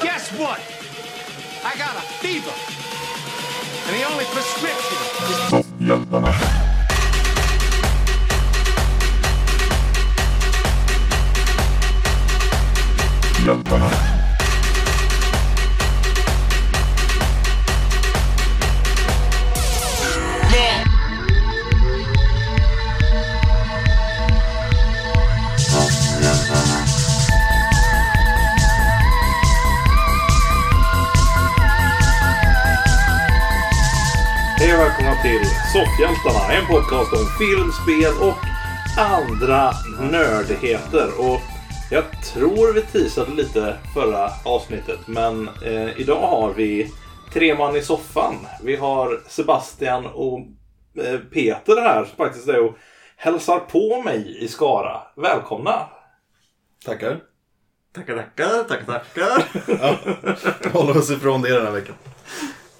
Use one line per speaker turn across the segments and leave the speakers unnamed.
guess what? I got a fever. And the only prescription is
Hjältarna. Hjältarna.
Hej och välkomna till Soffhjältarna, en podcast om film, spel och andra nördigheter. Och jag tror vi teasade lite förra avsnittet, men eh, idag har vi tre man i soffan. Vi har Sebastian och eh, Peter här som faktiskt är och hälsar på mig i Skara. Välkomna!
Tackar.
Tackar, tackar, tackar, tackar.
Jag håller oss ifrån det den här veckan.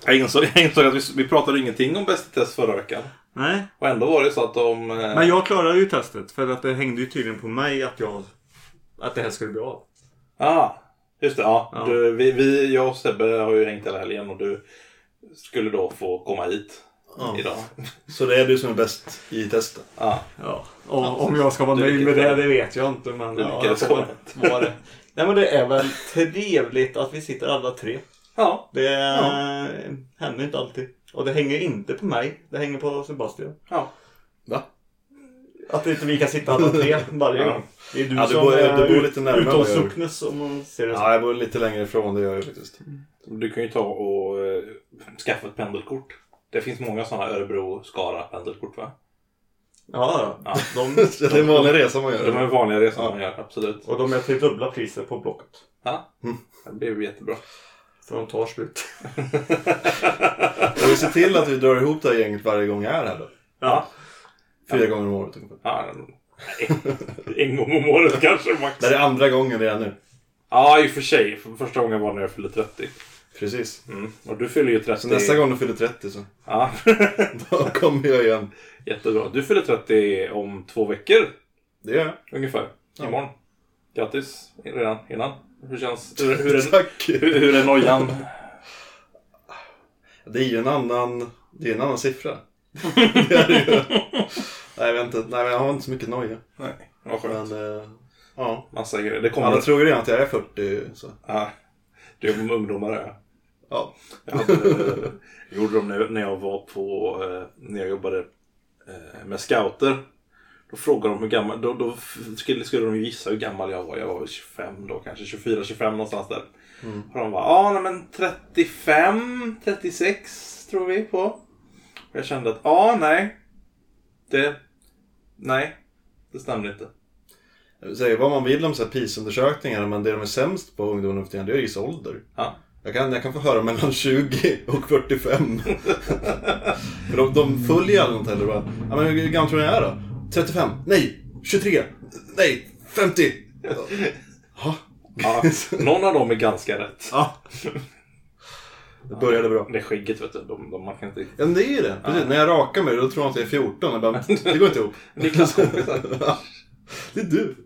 Jag insåg, jag insåg att vi, vi pratade ingenting om Bäst i test förra veckan.
Nej,
Och ändå var det så att de... eh,
men jag klarade ju testet för att det hängde ju tydligen på mig att jag... Att det här skulle bli av.
Ja, just det. Ja.
Ja.
Du, vi, vi, jag och Sebbe har ju hängt hela helgen och du skulle då få komma hit
Ja.
idag.
Så det är du som är bäst i testet.
Ja.
Ja. Och, om jag ska vara
Du
nöjd med det,
lyckades.
det vet jag inte. Men
Du
ja,
lyckades
så
komma.
var det. Nej men det är väl trevligt att vi sitter alla tre.
Ja,
Det händer inte alltid. Och det hänger inte på mig. Det hänger på Sebastian.
ja.
Va?
Att inte vi kan sitta alla tre varje
Ja.
gång. Det är du
Ja, du
som
bor-
är
du bor lite närmare
utom
vad jag gör.
socknes om man ser det så.
Ja, jag bor lite längre ifrån det gör jag faktiskt.
Mm.
Du kan ju ta och eh, skaffa ett pendelkort. Det finns många sådana Örebro-Skara-pendelkort va?
Ja, ja. De,
Så det är en vanlig resa man
Mm.
De är
gör.
vanliga resor
Ja.
man gör, absolut.
och de är till dubbla priser på Blocket.
Ja,
Mm.
det blir ju jättebra.
För de tar slut.
Jag vill se till att vi drar ihop det här gänget varje gång jag är här då.
Ja.
Fyra gånger om året ungefär.
ja. Nej. En gång om året kanske max.
Det här är andra gången redan nu.
Ja, i och för sig. För första gången var när jag fyllde 30.
Precis.
Mm. Och du fyller ju 30.
Så nästa gång du fyller 30 så
Ja.
då kommer jag igen.
Jättebra. Du fyller 30 om två veckor
Det gör jag.
ungefär.
Ja.
Imorgon. Grattis redan innan. Hur känns... Hur, hur, är,
Tack!
hur, hur är nojan?
Det är ju en annan, det är en annan siffra. det är det ju. Nej, vänta. Nej, men jag har inte så mycket noja.
Nej. Vad skönt.
Men, eh, ja.
Massa grejer. Det kommer...
Alla tror ju redan att jag är 40 så.
Ja. Du är ungdomar är jag.
Ja.
Jag hade, gjorde de när, när jag var på, eh, när jag jobbade eh, med scouter. Då frågade de hur gammal, då, då f- skulle, skulle de ju gissa hur gammal jag var. Jag var väl 25 då kanske, 24-25 någonstans där. Och de var ja nej men 35, 36 tror vi på. Och jag kände att ja nej. Det, nej. Det stämde inte.
Säg vad man vill om så här PIS-undersökningar men det de är sämst på ungdomar nu för tiden det är ju gissa ålder.
Ja.
Jag kan, jag kan få höra mellan 20 och 45. för de, de följer aldrig något heller. Bara, ja, men hur gammal tror ni jag är då? 35? Nej! 23? Nej! 50! Ja,
Ja, någon av dem är ganska rätt.
ja. Det började bra.
Det är skägget vet du. De, de, man kan inte...
Ja, men det är ju det. Precis. När jag rakar mig då tror de att jag är 14. Jag bara, det går inte ihop.
Niklas kompisar.
Det är du.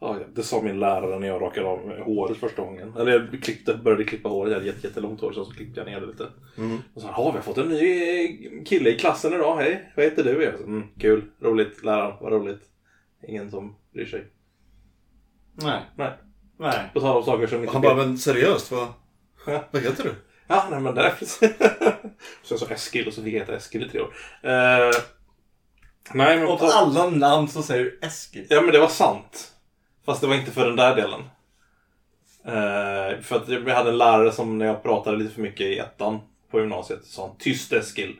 Ja, det sa min lärare när jag rakade av håret första gången. Eller jag klippte, började klippa håret. Jag hade jätte- jättelångt hår så, så klippte jag ner det lite.
Mm.
Och så har vi har fått en ny eh, kille i klassen idag. Hej, vad heter du? Jag sa, mm, kul, roligt, läraren, vad roligt. Ingen som bryr sig.
Nej.
Nej,
Nej.
på tal om saker som inte...
Han bara, men seriöst vad, vad heter du?
Ja, nej men det är precis. så jag sa Eskil och så fick jag heta Eskil i tre år. Eh, nej, men... på
Och på
tal-
alla namn så säger du Eskil.
Ja men det var sant. Fast det var inte för den där delen. Eh, för att jag hade en lärare som när jag pratade lite för mycket i ettan på gymnasiet sa han tyst Eskil.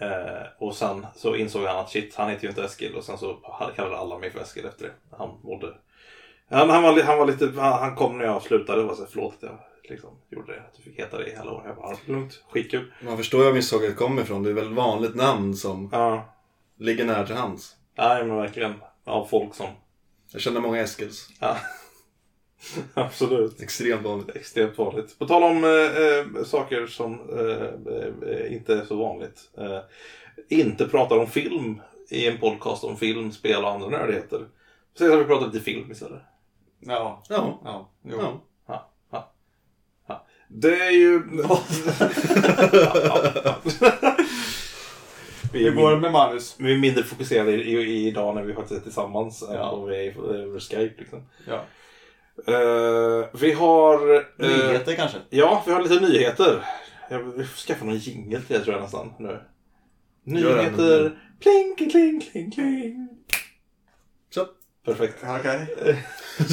Eh, och sen så insåg han att shit, han heter ju inte Eskil och sen så kallade alla mig för Eskil efter det. Han mådde... Han, han, var, li- han var lite... Han, han kom när jag slutade och var så här, förlåt att jag liksom gjorde det. Att du fick heta det i hela år. Jag bara, lugnt, skitkul.
Man förstår ju var misshaget kommer ifrån. Det är väl ett vanligt namn som
Ja,
ligger nära till hands.
nej men verkligen. Av folk som...
Jag känner många Eskils.
Ja. Absolut.
Extremt vanligt.
Extremt vanligt. På tal om eh, eh, saker som eh, eh, inte är så vanligt. Eh, inte pratar om film i en podcast om film, spel och andra nördigheter. Säg att vi pratar lite film istället.
Ja.
Ja.
Ja. Jo.
ja.
Ja, ja. Det är ju... vi, är
Hur går det
mindre,
med Manus?
vi är mindre fokuserade i, i, idag när vi faktiskt är tillsammans
Ja.
än då vi är över Skype. Liksom.
Ja.
Eh, vi har... eh,
Nyheter kanske?
ja, vi har lite nyheter. Jag vill skaffa någon jingel till det tror jag nästan nu.
Gör det.
Nyheter. Pling, kling, kling, kling.
Så.
Perfekt.
Okej.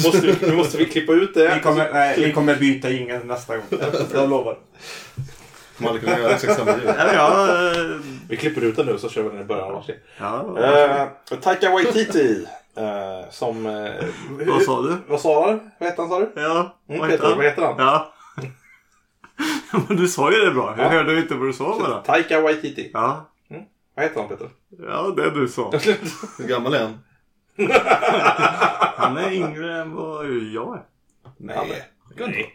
Måste vi, nu måste vi klippa ut det.
Vi, kommer, nej, vi kommer byta ingen nästa gång. Jag lovar.
Man hade kunnat göra exakt samma ljud.
Eller ja... eh,
Vi klipper ut den nu så kör vi den i början av varsin.
ja.
Eh, Taika Waititi. eh, som... eh,
Vad sa du?
Vad sa du? Vad hette han sa du?
Ja,
Mm,
vad
Peter,
heter han?
vad heter han?
Ja. Men du sa ju det bra. Jag
Ja.
hörde inte vad du sa bara.
Taika Waititi.
Ja.
Vad heter han Peter?
ja, det du sa.
Hur gammal är han?
Han är yngre än vad jag är.
Nej. Nej.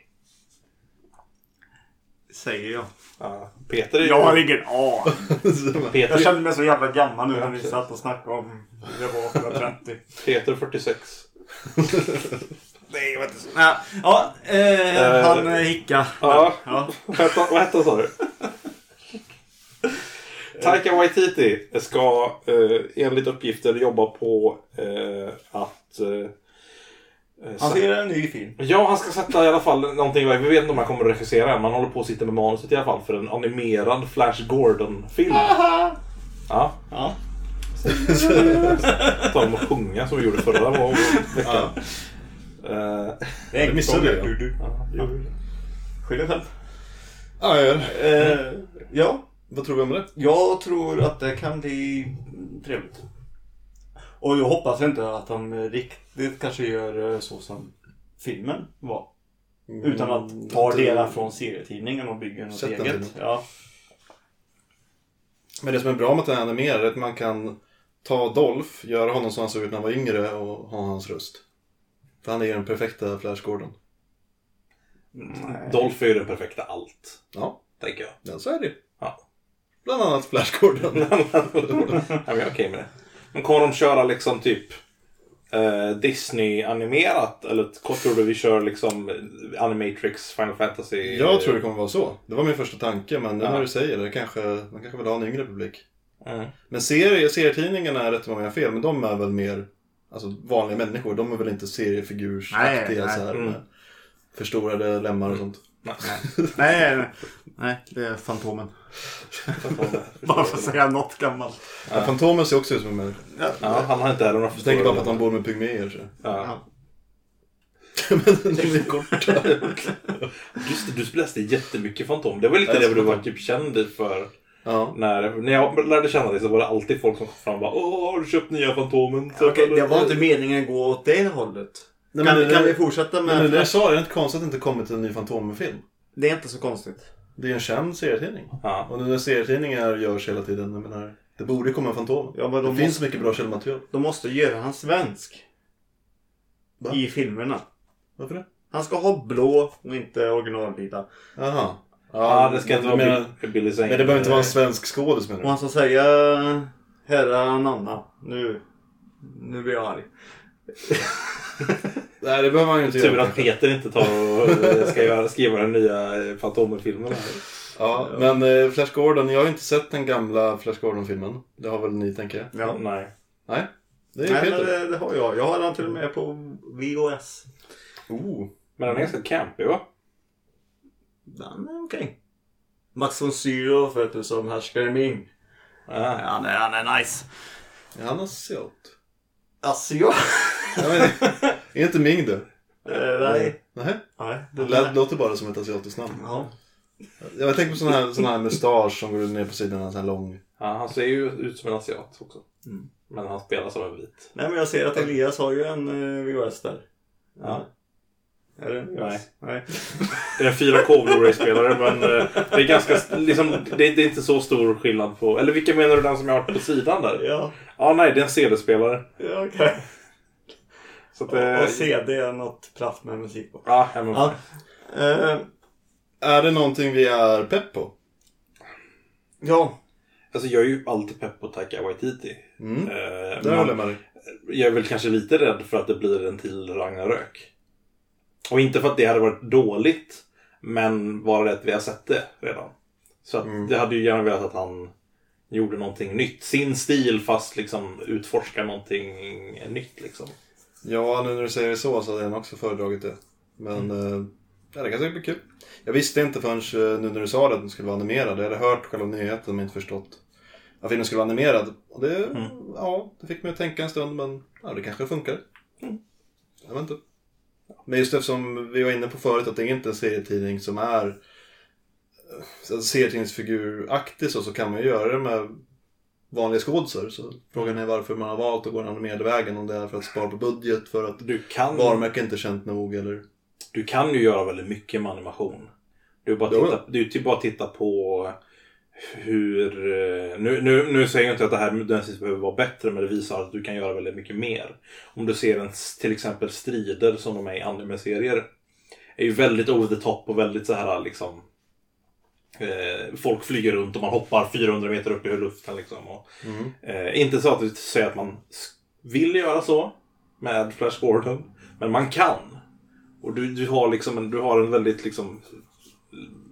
Säger jag.
Ja, Peter är ju...
Jag har ingen aning.
Peter,
Jag kände mig så jävla gammal nu när vi satt och snackade om när jag var 130.
Peter 46.
Nej, jag vet inte.
Nej, ja, eh,
Eh,
han eh, hicka.
Ja.
Ja.
Vad hette han- vad hette han sa du? Taika Waititi ska eh, enligt uppgifter jobba på eh, att... Eh,
Han
sätta-
ser en ny film.
Ja, han ska sätta i alla fall någonting. Vi vet inte om han kommer att regissera än. Man håller på att sitta med manuset i alla fall för en animerad Flash Gordon-film. Ja.
Ja.
Ta om att sjunga som vi gjorde förra veckan.
Ja.
Eh,
Det
Det missade jag.
du, du.
ja, det gjorde vi.
Skyll dig själv.
Ja, jag gör det.
Eh, ja,
Vad tror vi om det?
jag tror att det kan bli trevligt.
Och jag hoppas inte att de riktigt kanske gör eh, så som filmen var. Utan att ta delar från serietidningen och bygga något
Mm, Sätt den
eget.
filmen.
Ja.
Men det som är bra med att den är animerad är att man kan ta Dolph, göra honom som han såg ut när han var yngre och ha hans röst. För han är ju den perfekta Flash Gordon.
Dolph är ju den perfekta allt,
Ja,
tänker jag.
ja, så är det ju.
Ja.
Bland annat Flash Gordon.
Nej, men jag är okej med det. Men kommer de köra liksom typ eh, Disney-animerat? Eller kort tror du vi kör liksom Animatrix, Final Fantasy?
Jag tror det kommer vara så. Det var min första tanke, men nu
Ja.
när du säger det, kanske, man kanske vill ha en yngre publik.
Mm.
Men serier, serietidningarna, är rätt om jag har fel, men de är väl mer alltså, vanliga människor. De är väl inte seriefigursaktiga
Nej,
så här,
nej.
med förstorade lemmar och sånt.
Nej.
Nej, nej, nej, det är Fantomen. Bara för att säga något gammalt.
Ja. Fantomen ser också ut som en människa.
Ja, han har inte heller några
Jag tänker bara på att han bor med pygméer. Så.
Ja.
men de är korta.
Just det, du läste jättemycket Fantom. Det var lite
Jag
det du var
Fantom.
typ känd för.
Ja.
När, när jag lärde känna dig så var det alltid folk som kom fram och bara Åh, har du köpt nya Fantomen?
det var
typ-
inte meningen att gå åt det hållet.
Nej,
kan,
men det-
kan vi fortsätta
Men det
med...
där jag sa, är det inte konstigt att det inte kommit en ny Fantomen-film?
Det är inte så konstigt.
Det är ju en känd serietidning.
Ja.
Och nu när serietidningar görs hela tiden, jag menar, det borde komma en Fantomen.
Ja, men
det
de
finns så mycket bra källmaterial.
De måste göra han svensk.
Va?
I filmerna.
Varför det?
Han ska ha blå och inte originalvita.
Jaha.
Ja, det ska inte
du
vara
menar-
Bill- Billy Zane.
Men det behöver inte vara en svensk skådis menar
Och
du?
han ska säga Herra Nanna. Nu, nu blir jag arg.
Nej, det behöver man ju inte
Tur
göra.
att Peter inte tar och eh, ska göra, skriva den nya eh, Fantomen-filmen. här.
Ja, men eh, Flash Gordon, jag har ju inte sett den gamla Flash Gordon-filmen. Det har väl ni, tänker jag?
Ja.
Nej.
Nej, det är ju
Nej,
Peter.
men det, det har jag. Jag har han till och med på VHS.
Oh.
Men den är ganska campig va?
Den är okej. Max von Sydow vet du som härskar i Ming.
Ja.
Han är, han är nice.
Är han asiat?
Alltså jag...
Jag vet inte. Är inte Ming det?
Eh,
Mm.
Nej.
Nej,
Nej.
det lät- låter bara som ett asiatiskt namn.
Ja.
Jag tänker på sån här, sån här mustasch som går ner på sidorna, sån här lång.
Ja, han ser ju ut som en asiat också.
Mm.
Men han spelar som en vit.
Nej men jag ser att Elias har ju en eh, VHS där.
Ja.
Är det en VHS?
Nej.
Nej.
Det är en 4K Blu-ray-spelare men eh, det är ganska, liksom, det, det är inte så stor skillnad på... Eller vilka menar du den som jag har på sidan där? Ja,
Ja.
nej det är en CD-spelare.
Ja, okej.
Så att, eh,
Och CD är något platt med musik på.
Ja, ja, men,
Ja. Eh,
Är det någonting vi är pepp på?
ja.
Alltså jag är ju alltid pepp på Taika Waititi.
Mm.
Eh,
Där
man-
håller jag med dig.
jag är väl kanske lite rädd för att det blir en till Ragnarök. Och inte för att det hade varit dåligt. Men bara det att vi har sett det redan. Så att jag hade ju gärna velat att han gjorde någonting nytt. Sin stil fast liksom utforska någonting nytt liksom.
Ja, nu när du säger det så så hade jag nog också föredragit det. Men eh, ja, det kan säkert bli kul. Jag visste inte förrän eh, nu när du sa det att den skulle vara animerad. Jag hade hört själva nyheten men inte förstått att filmen skulle vara animerad. Och det, ja, det fick mig att tänka en stund men ja, det kanske funkar. Jag vet inte. Men just eftersom vi var inne på förut att det är inte en serietidning som är eh, alltså, serietidningsfiguraktig så, så kan man ju göra det med vanliga skådisar. Så frågan är varför man har valt att gå den animerade vägen. Om det är för att spara på budget, för att
Du kan,
varumärke inte känt nog eller...
du kan ju göra väldigt mycket med animation. Du bara
Jo,
titta, du typ bara titta på hur... eh, Nu, nu, nu säger jag inte att det här nödvändigtvis behöver vara bättre men det visar att du kan göra väldigt mycket mer. Om du ser en, s- till exempel strider som de är i anime-serier. Är ju väldigt over the top och väldigt så här liksom... Eh, folk flyger runt och man hoppar 400 meter upp i luften liksom. Och, eh, inte så att vi säger att man s- vill göra så med Flash Gordon. Men man kan. Och du, du, har, liksom en, du har en väldigt liksom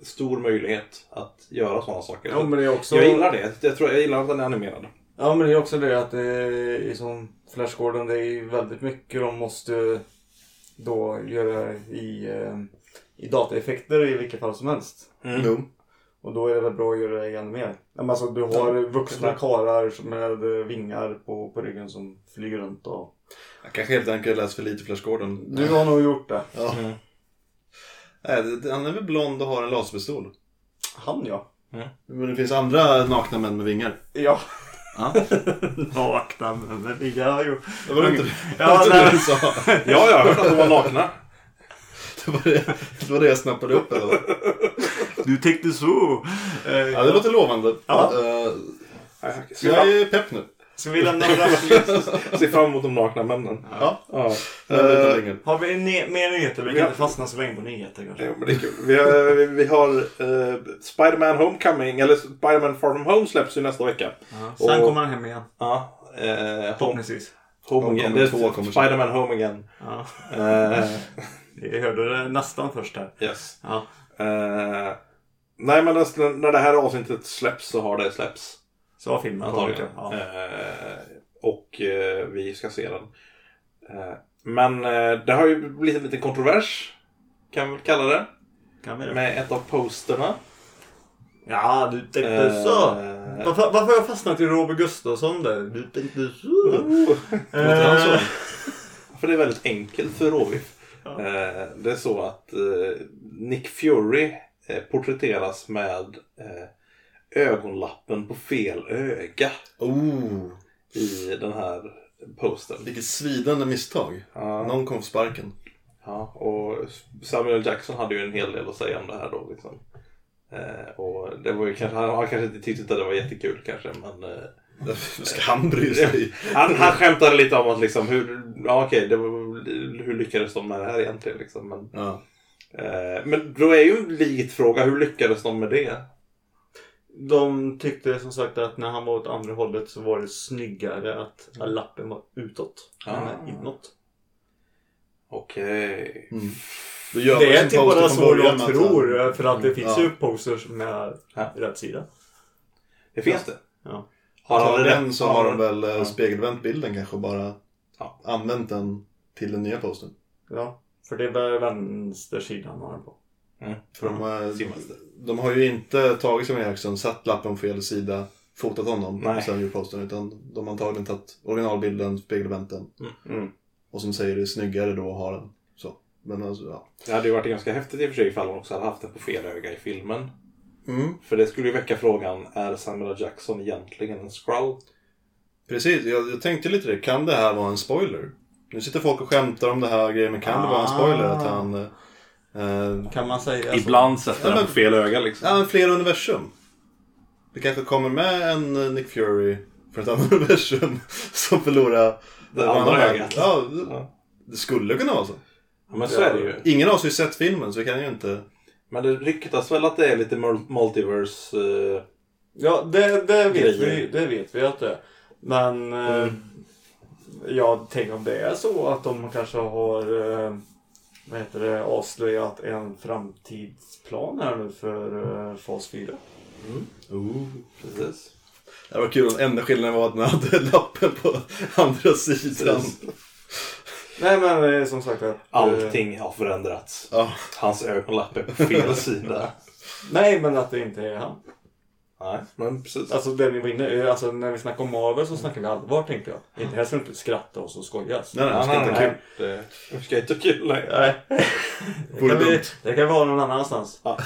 stor möjlighet att göra sådana saker.
Ja, men det är också...
Jag gillar det. Jag, tror, jag gillar att den är animerad.
Ja, men det är också det att det är som Flash Gordon, det är ju väldigt mycket de måste då göra i, eh, i dataeffekter i vilket fall som helst.
Jo.
Och då är det väl bra att göra det igen mer. Ja, men Alltså, du har vuxna karlar som- med eh, vingar på, på ryggen som flyger runt och...
Jag kanske helt enkelt läst för lite Flash Gordon.
Du har nog gjort det.
Nej, det- det- han är väl blond och har en laserpistol.
Han ja.
Men det finns andra nakna män med vingar.
Ja.
Vakna med mig.
Ja, jo.
Det var det inte
Ja,
det var
nej.
inte du sa.
Ja, jag har hört att de var nakna.
Det var det, det var det jag snappade upp eller vad?
Du tänkte så.
Ja, det låter lovande.
Ja.
Eh,
Ser
jag
fram,
är pepp nu.
Ska vi lämna Brasilius?
ser fram emot de nakna männen.
Ja.
Ja.
Jag vet inte längre.
Har vi ne- mer nyheter? Vi kan inte fastna så länge på nyheter kanske.
Jo, men det är kul. Vi har, vi, vi har eh, Spider-Man Homecoming, eller Spider-Man Far From Home släpps ju nästa vecka.
Sen
Och-
kommer han hem igen.
Ja. Eh, home,
Förhoppningsvis.
home again. Det
Homecoming 2 kommer
är
sen.
Spider-Man Home again.
Ja.
Eh,
Jag hörde det nästan först här.
yes.
Ja.
Eh, nej, men när- när det här avsnittet släpps så har det släppts.
Så har filmen kommit.
Antagligen.
Ja.
Eh, och eh, vi ska se den. Eh, men eh, det har ju blivit en liten kontrovers. Kan vi väl kalla det.
Kan vi det?
Med ett av posterna.
Ja, du tänkte
Eh,
så. Varför, varför har jag fastnat i Robert Gustafsson där? Du tänkte så. Eh,
Låter han så?
För det är väldigt enkelt för Råbiff. Eh, det är så att eh, Nick Fury eh, porträtteras med eh, ögonlappen på fel öga
Oh,
i den här posten.
vilket svidande misstag. Någon kom på sparken.
Ja, och Samuel Jackson hade ju en hel del att säga om det här då. Liksom. Eh, och det var ju kanske, han, han kanske inte tyckte att det var jättekul kanske, men... Eh,
Ska han bry sig?
han, han skämtade lite om att liksom, hur, ja, okej, det var, hur lyckades de med det här egentligen? Liksom, men,
Ja.
eh, men då är ju en litfråga, hur lyckades de med det?
De tyckte som sagt att när han var åt andra hållet så var det snyggare att lappen var utåt
Ah.
än inåt.
Okej.
Mm. Då gör man
Det
ju
är
sin
typ
poster
bara
från
så
början
jag
med att- eh, Mm,
tror. För att det finns
Ja.
ju posters med
Ja.
rätt sida.
Det finns det.
Ja.
Har
Tar
han
de
rätt?
den så har de väl
Ja.
ja. spegelvänt bilden kanske och bara
Ja.
använt den till den nya posten.
Ja. För det är bara vänstersidan har den på.
Mm.
För de, har,
Simmas.
de har ju inte tagit Samuel Jackson, satt lappen på fel sida, fotat honom
Nej.
och sen gjort posten. Utan de har antagligen tagit originalbilden, spegelvänt den.
Mm.
Och som säger det är snyggare då att ha den. Så. Men alltså, ja.
Det hade ju varit ganska häftigt i och för sig ifall han också hade haft den på fel öga i filmen.
Mm.
För det skulle ju väcka frågan, är Samuel L. Jackson egentligen en scroll?
Precis, jag, jag tänkte lite det. Kan det här vara en spoiler? Nu sitter folk och skämtar om det här grejen, men kan det vara en spoiler att
Ah.
han... Eh,
Kan man säga
Ibland sätter den på fel öga liksom.
ja, men flera universum. Det kanske kommer med en eh, Nick Fury från ett annat universum som förlorar...
Det andra
annan-
ögat.
Ja, det-
Ja.
det skulle kunna vara så.
Ja, men så är det ju.
Ingen av oss har ju sett filmen så vi kan ju inte...
Men det ryktas väl att det är lite mul- multiverse... eh,
Ja, det, det, vet
Grejer.
vi, det vet vi att det är. Men eh, jag tänker om det är så att de kanske har eh,
vad heter det, avslöjat en framtidsplan här nu för eh, fas 4.
Oh.
Ooh.
Precis.
Det var kul, enda skillnaden var att man hade lappen på andra sidan.
Nej men eh, som sagt att... eh,
Allting har förändrats.
Ja.
Hans ögonlapp är på fel sida.
Nej men att det inte är han.
Nej, men precis.
Alltså det ni var inne eh, alltså när vi snackar om Marvel så snackar vi allvar tänkte jag. Inte här ska vi inte skratta och så skojas.
Nej, nej, man
Ja,
ska
nej,
inte ha
nej.
kul.
Det det ska inte ha kul längre.
Nej. Det
Vore
kan, vi,
dumt.
det kan vi ha någon annanstans.
Ja.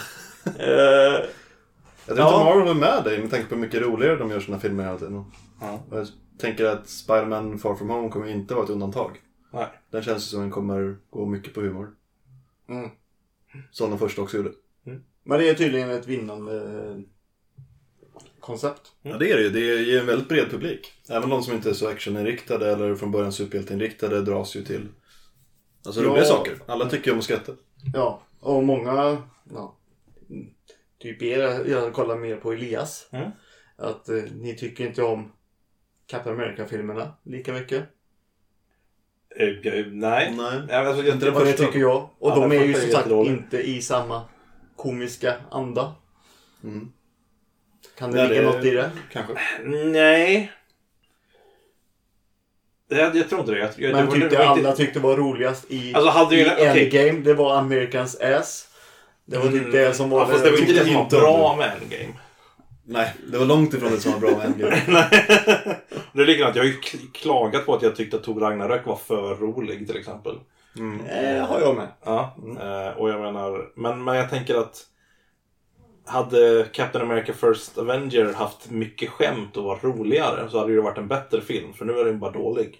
Eh,
Jag tror inte
Ja.
Marvel är med dig med tanke på hur mycket roligare de gör sina filmer hela tiden.
Ja.
Och jag tänker att Spider-Man Far From Home kommer inte vara ett undantag.
Nej.
Den känns ju som den kommer gå mycket på humor.
Mm.
Som den första också gjorde.
Men det är tydligen ett vinnande eh, koncept.
Ja det är det ju. Det ger en väldigt bred publik. Även de som inte är så actioninriktade eller från början superhjälteinriktade dras ju till alltså
Ja.
roliga saker. Alla tycker ju om att skratta.
Ja, och många... Ja, mm, typ er, jag kollar mer på Elias.
Mm.
Att eh, ni tycker inte om Captain America-filmerna lika mycket.
Eh, jag- Nej.
Nej.
Nej, alltså, jag,
Inte den
Och det
första.
tycker jag. Och
Ja,
de
den
är ju
första är
som sagt
jättedålig.
inte i samma komiska anda.
Mm.
Kan det
Nej,
ligga
det-
något i det?
Kanske.
Nej. Jag, jag tror inte det. Jag, jag, det
Men
var- det
tyckte
var inte-
alla tyckte var roligast i,
Alltså, hade
i
ju- okej.
Endgame, det var Americans ass. Det var typ
Mm.
det som var
ja, fast det var inte det som var
inte
bra med Endgame.
Nej, det var långt ifrån det som var bra med Endgame.
Det är likadant. Jag har ju k- klagat på att jag tyckte att Thor Ragnarök var för rolig till exempel.
Eh, har jag med.
Ja, eh, och jag menar, men, men jag tänker att hade Captain America First Avenger haft mycket skämt och var roligare så hade det varit en bättre film. För nu är den bara dålig.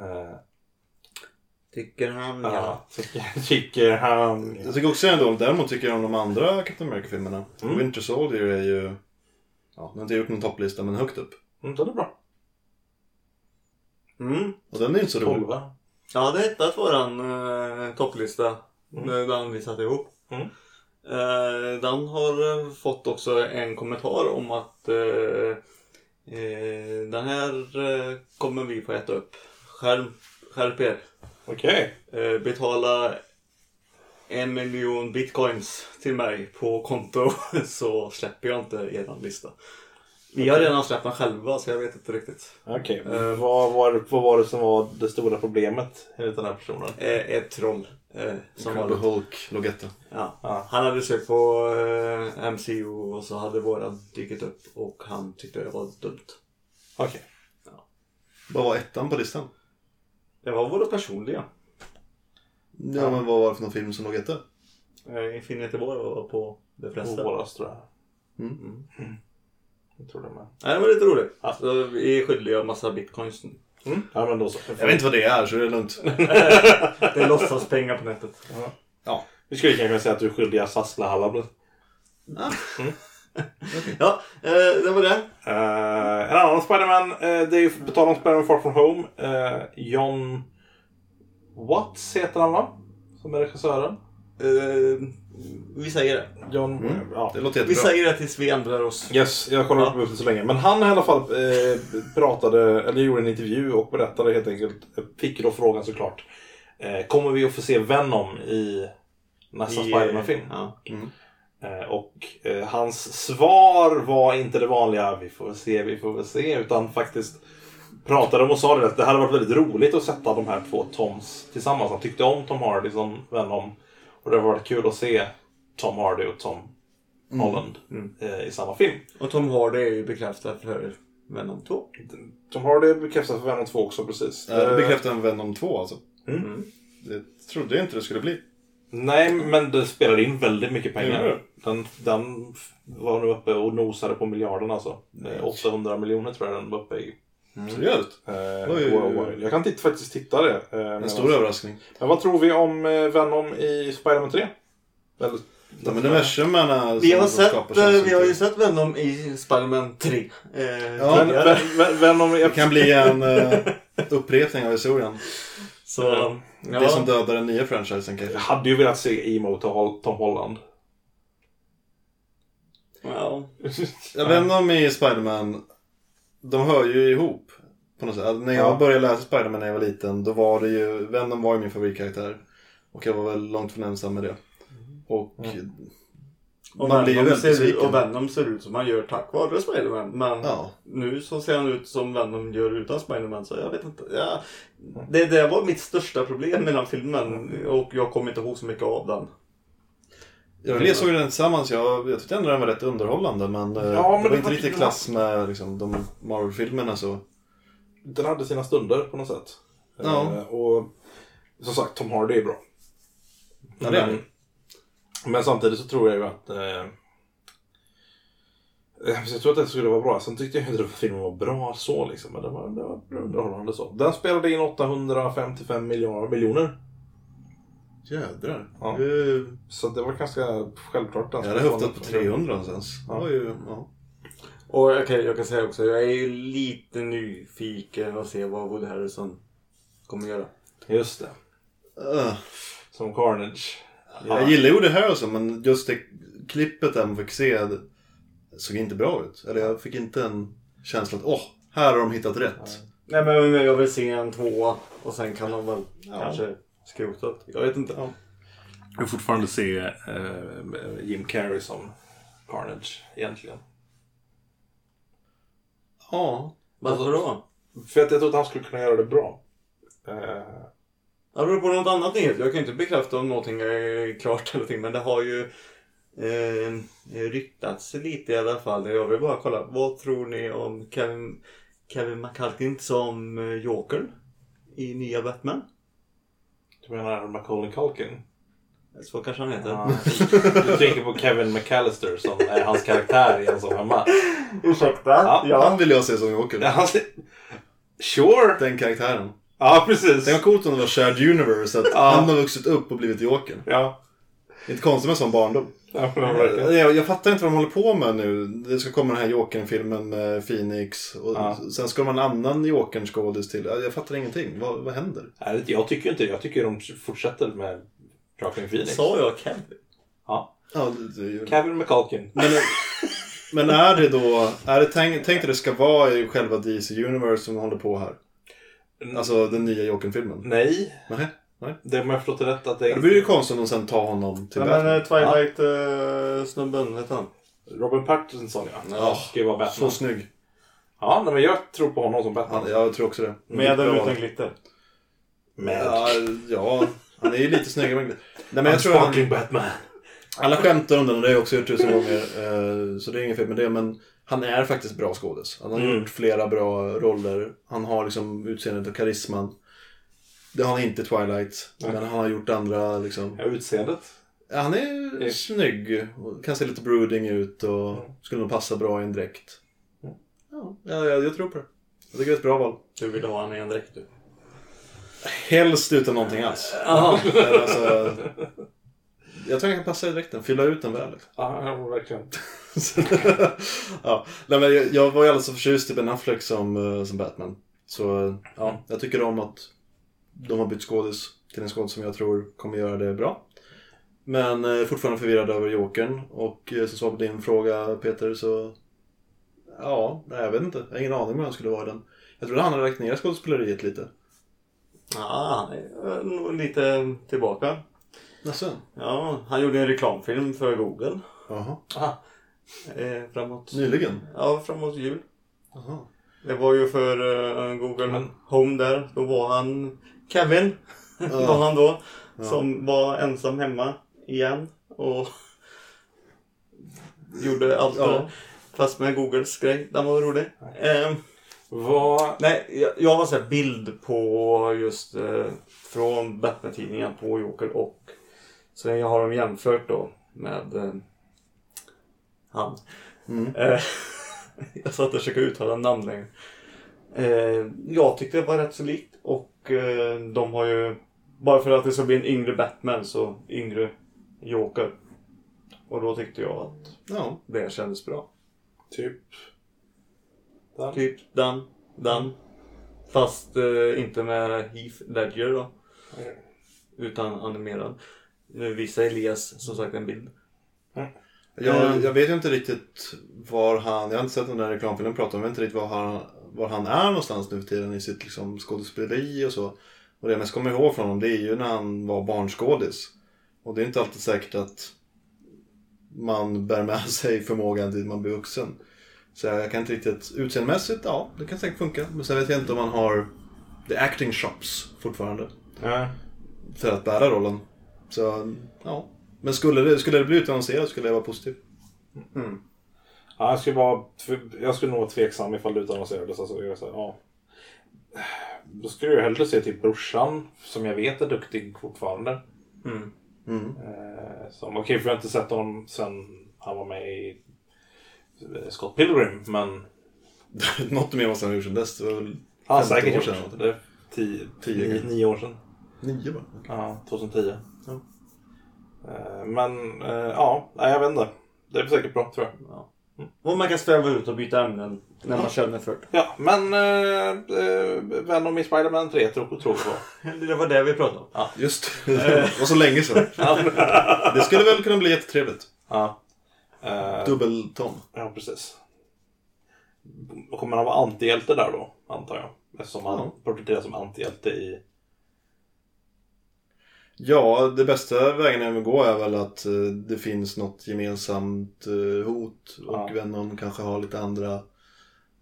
Eh,
Tycker han
ja. Tycker han.
Jag tycker också den är dålig. Däremot tycker jag om de andra Captain America-filmerna. Winter Soldier är ju... Ja, den har inte gjort någon topplista, men högt upp.
Mm, den är bra.
Mm.
Och den är inte så rolig.
Tolva.
Jag hade hittat våran eh, topplista. Mm. Den vi satte ihop.
Mm.
Eh, den har eh, fått också en kommentar om att eh, eh, den här eh, kommer vi få äta upp. Skärm, skärp er.
Okej.
Eh, betala en miljon bitcoins till mig på konto så släpper jag inte eran lista. Vi har redan släppt den själva så jag vet inte riktigt.
Okej, eh, vad, var, vad var det som var det stora problemet enligt den här personen?
Eh, ett troll. Eh, som
Incredible
vanligt.
Hulk, Logetta.
Ja.
Ja.
Han hade sökt på eh, MCO och så hade våran dykt upp och han tyckte det var dumt.
Okej.
Vad var ettan på listan?
Det var våra personliga.
Ja, men vad var det för någon film som låg etta?
Eh, Infinity War var på de flesta.
Våras tror jag.
Mm.
Mm. Jag tror det med.
Nej, det var lite roligt.
Ja.
Så Alltså, vi är skyldiga en massa bitcoins nu.
Ja men då så.
Jag vet inte vad det är, så det är lugnt.
Det är låtsas pengar på nätet.
Vi skulle kanske säga att du är skyldig Sassla Hallabla.
Ja, eh, det var det.
Eh, en annan Spiderman, eh, det är ju på tal om Spiderman Far From Home. eh, John Watts heter han va? Som är regissören.
Eh, vi säger det.
John... Ja.
Det låter
Vi
jättebra.
säger det tills vi ändrar oss.
Yes, jag kollade inte upp det så länge. Men han i alla fall eh, pratade, eller gjorde en intervju och berättade helt enkelt, fick då frågan såklart. Eh, kommer vi att få se Venom i nästa
I, eh,
Spiderman-film?
Ja. Mm.
Eh, och eh, hans svar var inte det vanliga, vi får väl se, vi får väl se, utan faktiskt pratade om och sa det att det hade varit väldigt roligt att sätta de här två Toms tillsammans. Han tyckte om Tom Hardy som Venom och det har varit kul att se Tom Hardy och Tom
Mm.
Holland eh, i samma film.
Och Tom Hardy är ju bekräftad för Venom 2.
Tom Hardy bekräftas för Venom 2 också precis.
Eh, Det
Eh,
bekräftar en Venom 2 alltså.
Mm.
Det trodde jag inte det skulle bli.
Nej, men det spelade in väldigt mycket
Gjorde det?
pengar. Den, den f- var nu uppe och nosade på miljarden alltså. Eh, 800 miljoner tror jag den var uppe i.
Mm.
Seriöst?
Eh,
Oj, oj, oj.
wow, wow. Jag kan titt, faktiskt titta det. Eh,
En
Mm.
medan-
stor överraskning.
Men vad tror vi om eh, Venom i Spider-Man 3? Eller,
De universumerna
Mm. Vi har,
som de
sett,
skapar
eh,
känns
vi har ju
inte-
sett Venom i Spiderman 3. Eh,
Ja,
Ven-
tidigare.
Ven- Ven- Venom
Det kan bli en eh, upprepning av historien.
Så,
Ja.
ja.
Det som dödar den nya franchisen kanske.
Jag hade ju velat se emo Tom Tom Holland.
ja.
Jag vet inte om i Spiderman, de hör ju ihop. På något sätt. Alltså, när jag
Ja.
började läsa Spiderman när jag var liten, då var det ju, Venom var ju min favoritkaraktär. Och jag var väl långt från ensam med det.
Mm.
Och
Och
man blir ju
Venom
väldigt
ser, ut-
besviken.
och Venom ser ut som han gör tack vare Spiderman. Men
Ja.
nu så ser han ut som Venom gör utan Spiderman. Så jag vet inte. Ja, det, det var mitt största problem med den filmen. Och jag kommer inte ihåg så mycket av den.
Jag vi såg den tillsammans. Jag, jag tyckte ändå den var rätt underhållande. Men, eh,
Ja, men
det var
det
inte
var-
riktigt i klass med liksom, de Marvel-filmerna så.
Den hade sina stunder på något sätt.
Ja.
Eh, och som sagt, Tom Hardy är bra.
Ja, det är
men, men samtidigt så tror jag ju att... Eh, eh, jag tror att det skulle vara bra. Sen tyckte jag inte att filmen var bra så liksom. Men det var, det var underhållande så. Den spelade in 855 miljarder, miljoner.
Jädrar.
Ja.
Det är ju-
Så det var ganska självklart. den
Jag hade
skulle
höftat på
få den.
300 någonstans. Det var ju, ja.
Och jag kan, jag kan säga också, jag är ju lite nyfiken att se vad Woody Harrison kommer göra.
Just det.
Eh,
Som Carnage.
Jag gillar ju det här också men just det klippet där man fick se det såg inte bra ut. Eller jag fick inte en känsla att åh, här har de hittat rätt.
Nej men jag vill se en tvåa och sen kan de väl kanske skrota det. Jag vet inte.
Jag vill fortfarande se eh, Jim Carrey som Carnage egentligen.
Ja.
Varför då?
För att jag tror att han skulle kunna göra det bra. Eh,
Det beror på något annat nyhet. Jag kan ju inte bekräfta om någonting är klart eller någonting men det har ju eh, ryktats lite i alla fall. Jag vill bara kolla, vad tror ni om Kevin, Kevin McCulkin som eh, Joker i nya Batman?
du menar Macaulay Culkin?
Så kanske han heter.
Mm.
Ja. du tänker på Kevin McAllister som är hans karaktär i Ensam Hemma.
Ursäkta?
Ja.
Han vill jag se som Joker.
Ja, han ser- Sure!
Den karaktären.
Ja, precis.
Tänk vad coolt om det var shared universe, att
Ja.
han har vuxit upp och blivit Jokern.
Ja.
Inte konstigt med sån barndom.
Ja, men verkligen.
Eh, Jag, jag fattar inte vad de håller på med nu. Det ska komma den här Jokern-filmen med Phoenix. Och
Ja.
Sen ska de ha en annan Jokern-skådis till. Jag fattar ingenting. Vad, vad händer?
Nej, jag tycker inte det. Jag tycker de fortsätter med Joaquin Phoenix.
Sa jag Kevin?
Ja.
Ja, det, det, är ju-
Kevin McCulkin.
Men, men är det då... Är det tänk, tänk dig det ska vara i själva DC Universe som håller på här.
Mm.
Alltså den nya Jokern-filmen.
Nej,
Nej. Nej.
det har jag förstått det rätt att det
Det
är
blir ju konstigt om de sen tar honom till
Ja,
Batman.
men eh, Twilight-snubben, vet han?
Robin Pattinson ja. Han ska ju vara
Så
Batman.
snygg.
Ja, nej, men jag tror på honom som
Han,
Batman.
jag tror också det.
Med eller
Bra.
utan glitter?
Ja, ja, han är ju lite snyggare. men- Nej, men
Men
jag tror han,
Batman.
alla skämtar om den och det har jag också gjort tusen gånger. eh, Så det är inget fel med det. Men han är faktiskt bra skådis. Han har
Mm.
gjort flera bra roller. Han har liksom utseendet och karisman. Det har han inte i Twilight. Men han har gjort andra liksom.
Ja, utseendet.
Ja, Han är
Ja.
snygg. och Kan se lite brooding ut och skulle nog passa bra i en dräkt. Mm. Ja, jag, jag tror på det. Jag tycker det är ett bra val.
Du ville ha henne i en dräkt du.
Helst utan någonting alls.
Jaha.
Eller alltså, jag tror jag kan passa i dräkten. Fylla ut den väl. liksom.
Ja, ja, verkligen.
Så- ja. Nej, men jag, jag var ju alldeles så förtjust i Ben Affleck som, eh, som Batman. Så eh,
Ja.
jag tycker om att de har bytt skådis till en skådis som jag tror kommer göra det bra. Men eh, fortfarande förvirrad över Jokern. Och eh, som svar på din fråga Peter så... Ja, nej, jag vet inte. Jag har ingen aning om hur han skulle vara i den. Jag trodde han hade lagt ner skådespeleriet lite.
Ja, han är eh, nog lite tillbaka.
Jaså?
Ja, han gjorde en reklamfilm för Google.
Jaha.
Eh, framåt,
Nyligen?
ja, framåt jul.
Jaha.
Det var ju för eh, Google Home där. Då var han Kevin. var han då. Som var ensam hemma igen. Och gjorde allt
Ja.
det där. Fast med Googles grej. Den var rolig. Ehm,
Vad...
Nej, jag, jag har sett bild på just eh, från Batman-tidningen på Joker och så jag har dem jämfört då med eh, han. Eh, jag satt och försökte uttala namn längre. Eh, jag tyckte det var rätt så likt och eh, de har ju bara för att det ska bli en yngre Batman så yngre Joker. Och då tyckte jag att
Ja.
det kändes bra.
Typ.
Typ den, den. Fast eh, inte med Heath Ledger då. Utan animerad. Nu visar Elias som sagt en bild.
Jag,
Ehm.
jag vet ju inte riktigt var han, jag har inte sett den där reklamfilmen prata om, jag vet inte riktigt var han, var han är någonstans nu för tiden i sitt liksom, skådespeleri och så. Och det jag mest kommer ihåg från honom det är ju när han var barnskådis. Och det är inte alltid säkert att man bär med sig förmågan dit man blir vuxen. Så jag kan inte riktigt... Utseendemässigt, ja, det kan säkert funka. Men sen vet jag inte om man har the acting shops fortfarande
Ja.
för att bära rollen. Så, ja. Men skulle det, skulle det bli utannonserat skulle jag vara positiv.
Ja, jag, skulle vara, tv- jag skulle nog vara tveksam ifall det utannonserades. Alltså, jag, så här, ja. Då skulle jag hellre se typ brorsan, som jag vet är duktig fortfarande.
Mm.
Eh, som, Okej, för jag har inte sett honom sen han var med i eh, Scott Pilgrim, men
Något mer måste han ha gjort sedan dess. Det var väl
han har
15
säkert
år
gjort
sedan.
det. är Tio,
Tio,
tio,
kanske.
nio år sedan.
nio bara.
Ja, 2010.
Ja.
Eh, Men eh, ja, nej, jag vet inte. Det är säkert bra tror jag.
Och man kan sväva ut och byta ämnen när man känner för det.
Ja, men eh, eh, Venom i Spider-Man 3 tror tror vi på.
Det var det vi pratade om.
Just det. var så länge sedan. Det skulle väl kunna bli jättetrevligt.
Ja. Eh,
Dubbel-Tom.
ja, precis. Kommer han vara antihjälte där då, antar jag? Eftersom han
Ja.
porträtteras som antihjälte i...
Ja, det bästa vägen jag vill gå är väl att eh, det finns något gemensamt eh, hot och
Ja.
Venom kanske har lite andra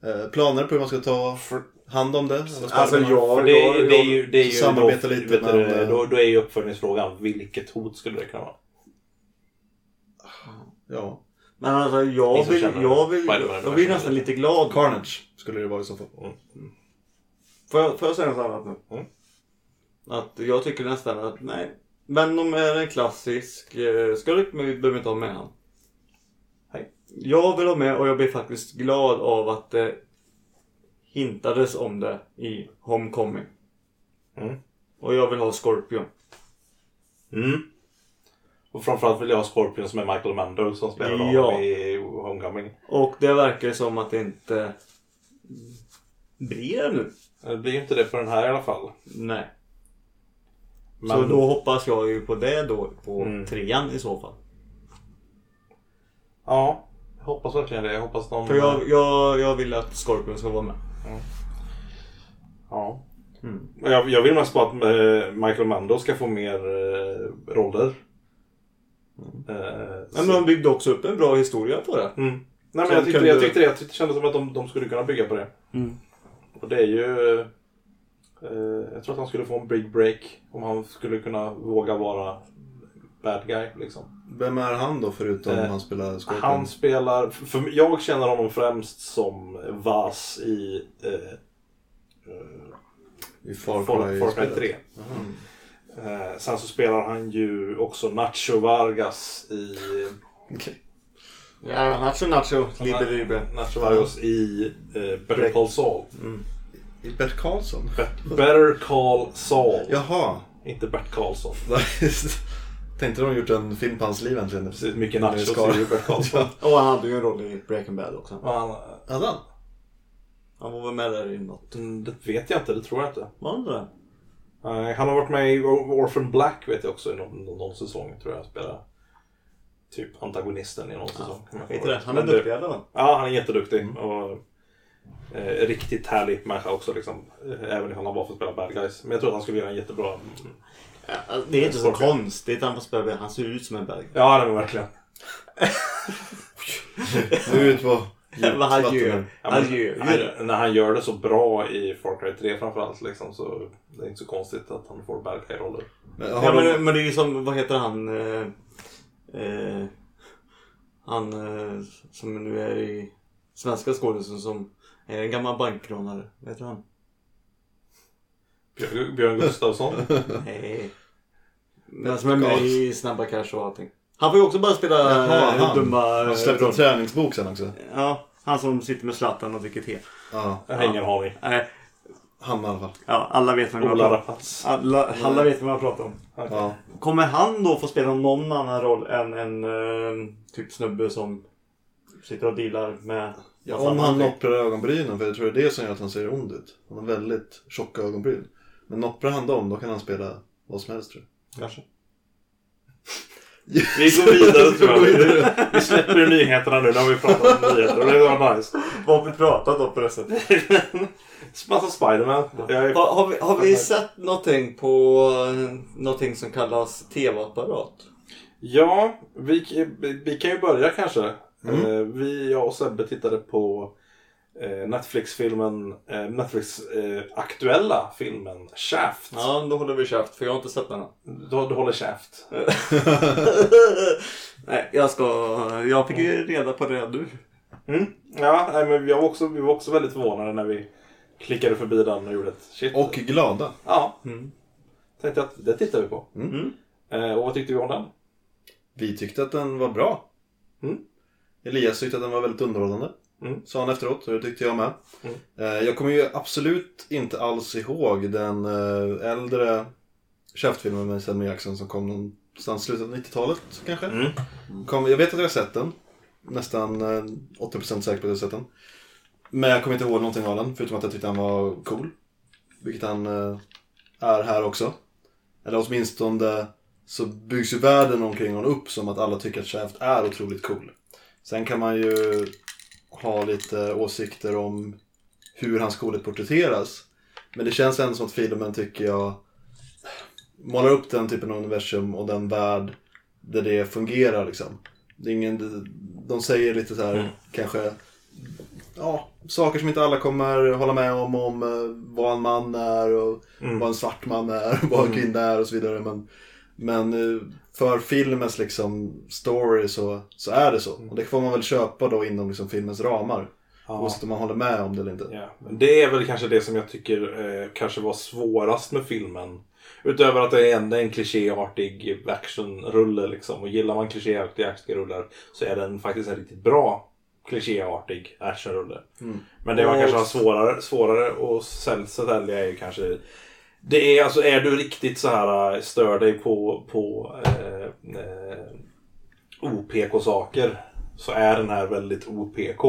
eh, planer på hur man ska ta hand om det.
Alltså jag...
För det,
jag,
det är ju... Det är ju
Samarbeta
då,
lite eh,
vet du,
med-
då, då är ju uppföljningsfrågan, vilket hot skulle det kunna vara?
Ja,
Men alltså jag
Ni som
vill...
känner
Jag, vill,
Spider-Man
jag blir
verkligen.
nästan lite glad.
Carnage skulle det vara i så fall.
Får jag, får jag säga något annat nu?
Mm.
Att jag tycker nästan att nej. Men de är en klassisk eh, skurk men vi behöver inte ha med han. Nej. Jag vill ha med och jag blir faktiskt glad av att det hintades om det i Homecoming.
Mm.
Och jag vill ha Scorpion.
Mm. Och framförallt vill jag ha Scorpion som är Michael Mando som spelar honom
Ja.
i Homecoming.
Och det verkar ju som att det inte blir det nu.
Eh, Det blir ju inte det på den här i alla fall.
Nej.
Men,
Så då hoppas jag ju på det då på
Mm.
trean i så fall.
Ja, jag hoppas verkligen det. Jag hoppas de...
För jag, jag, jag vill att Scorpion ska vara med.
Ja.
Mm.
Jag, jag vill mest bara att eh, Michael Mando ska få mer eh, roller. Eh,
Nej,
så-
Mm. men de byggde också upp en bra historia på det.
mm. Nej, men
Som
jag tyckte,
kunde-
jag tyckte det. Jag tyckte, det kändes som att de, de skulle kunna bygga på det.
Mm.
Och det är ju... eh, Eh, jag tror att han skulle få en big break om han skulle kunna våga vara bad guy. Liksom.
Vem är han då förutom
Eh,
han spelar Scorpion?
Han spelar... För för jag känner honom främst som Vas i eh,
I Far Mm.
Far
Cry,
Far Cry 3. Eh, sen så spelar han ju också Nacho Vargas i...
Okej.
Ja, nacho nacho, libbe libbe.
Nacho Vargas i eh, Better Call Saul.
Mm. I Bert Karlsson?
Better Call Saul.
Jaha.
Inte Bert Karlsson.
Tänkte de gjort en film på hans liv äntligen?
Precis, mycket
Det är
nachos
skara.
är ju Bert Karlsson.
Och han hade ju en roll i Breaking Bad också.
Och han,
Hade han?
Han var väl med där i något.
mm, det vet jag inte, det tror jag inte.
Var han det?
Nej, han har varit med i Or- Orphan Black vet jag också i någon, någon, någon säsong. Tror jag spelar typ antagonisten i någon säsong. kan man
Skit i
komma
det.
ihåg.
Han är
Men det-
duktig Mm. i alla fall.
Ja, han är jätteduktig. Och, eh, riktigt härlig människa också. Liksom. Eh, Även om han bara får spela bad guys. Men jag tror att han skulle göra en jättebra...
Ja, alltså, Det är inte så
Scorpion.
konstigt han får spela med. Han ser ut som en bad guy.
Ja, det var verkligen.
Nu är vi ute på djupt
Vad han
vatten
gör.
här.
Ja, men
Han gör ju det.
han, när han gör det så bra i Far Cry 3 framförallt. Liksom, så det är inte så konstigt att han får bad guy-roller.
Men,
Ja,
har de...
men, men det är ju som, vad heter han? Eh, eh, han eh, som nu är i svenska skådisen som är en gammal bankrånare. Vad heter han?
Björn, Björn Gustafsson.
Nej. Men som är med i Snabba Cash och allting. Han får ju också bara spela
Jaha,
eh,
han.
dumma...
Han släppte en
roll.
träningsbok sen också.
ja, han som sitter med Zlatan och dricker te.
Ja,
Jag har ingen aning.
Nej,
han i alla fall.
ja, alla vet vem jag
Ola
pratar om.
Rapace.
Alla, alla vet vem jag pratar om.
Ja.
Kommer han då få spela någon annan roll än en eh, typ snubbe som sitter och dealar med...
Ja,
vad fan
om han
heter?
nopprar ögonbrynen, för jag tror det är det som gör att han ser ond ut. Han har väldigt tjocka ögonbryn. Men nopprar han dem, då kan han spela vad som helst tror jag.
Kanske.
Vi går vidare tror jag. Vi släpper nyheterna nu. Nu har vi pratat om nyheter. Det var nice.
Vad har vi pratat om förresten?
Massa Spiderman. Jag är...
Har, har, vi, har vi sett någonting på eh, någonting som kallas TV-apparat?
Ja, vi, vi kan ju börja kanske. Eh, Vi, jag och Sebbe tittade på eh, Netflix-filmen, eh, Netflix-aktuella filmen Shaft.
Ja, då håller vi käft för jag har inte sett den än.
Du, du håller käft.
Nej, jag ska... Jag fick ju reda på det nu.
Mm. Ja, nej, men jag var också, vi var också väldigt förvånade när vi klickade förbi den och Mm. gjorde ett shit.
Och glada.
Ja. Tänkte att det tittar vi på. Eh, och vad tyckte vi om den?
Vi tyckte att den var bra.
Mm.
Elias tyckte att den var väldigt underhållande.
Mm.
Sa han efteråt och det tyckte jag med.
Mm.
Eh, Jag kommer ju absolut inte alls ihåg den eh, äldre käftfilmen med Selma Jackson som kom någonstans i slutet av 90-talet kanske.
Mm.
Kom, jag vet att jag har sett den. Nästan eh, 80% säker på att jag har sett den. Men jag kommer inte ihåg någonting av den förutom att jag tyckte han var cool. Vilket han eh, är här också. Eller åtminstone så byggs ju världen omkring honom upp som att alla tycker att Shaft är otroligt cool. Sen kan man ju ha lite åsikter om hur hans coolhet porträtteras. Men det känns ändå som att filmen tycker jag målar upp den typen av universum och den värld där det fungerar liksom. Det är ingen, de säger lite så här kanske ja, saker som inte alla kommer hålla med om, om eh, vad en man är och vad en svart man är och vad en kvinna är och så vidare. Men, men eh, för filmens liksom story så, så är det så. Och det får man väl köpa då inom liksom filmens ramar. Oavsett om man håller med om det eller inte.
Ja, men det är väl kanske det som jag tycker eh, kanske var svårast med filmen. Utöver att det är en, det är en klichéartig actionrulle liksom. Och gillar man klichéartiga actionrullar så är den faktiskt en riktigt bra klichéartig actionrulle. Men det man
Och-
kanske har svårare, svårare att sälja sig sälja är ju kanske det är alltså, är du riktigt så här eh, stör dig på, på eh, eh, OPK-saker så är den här väldigt OPK.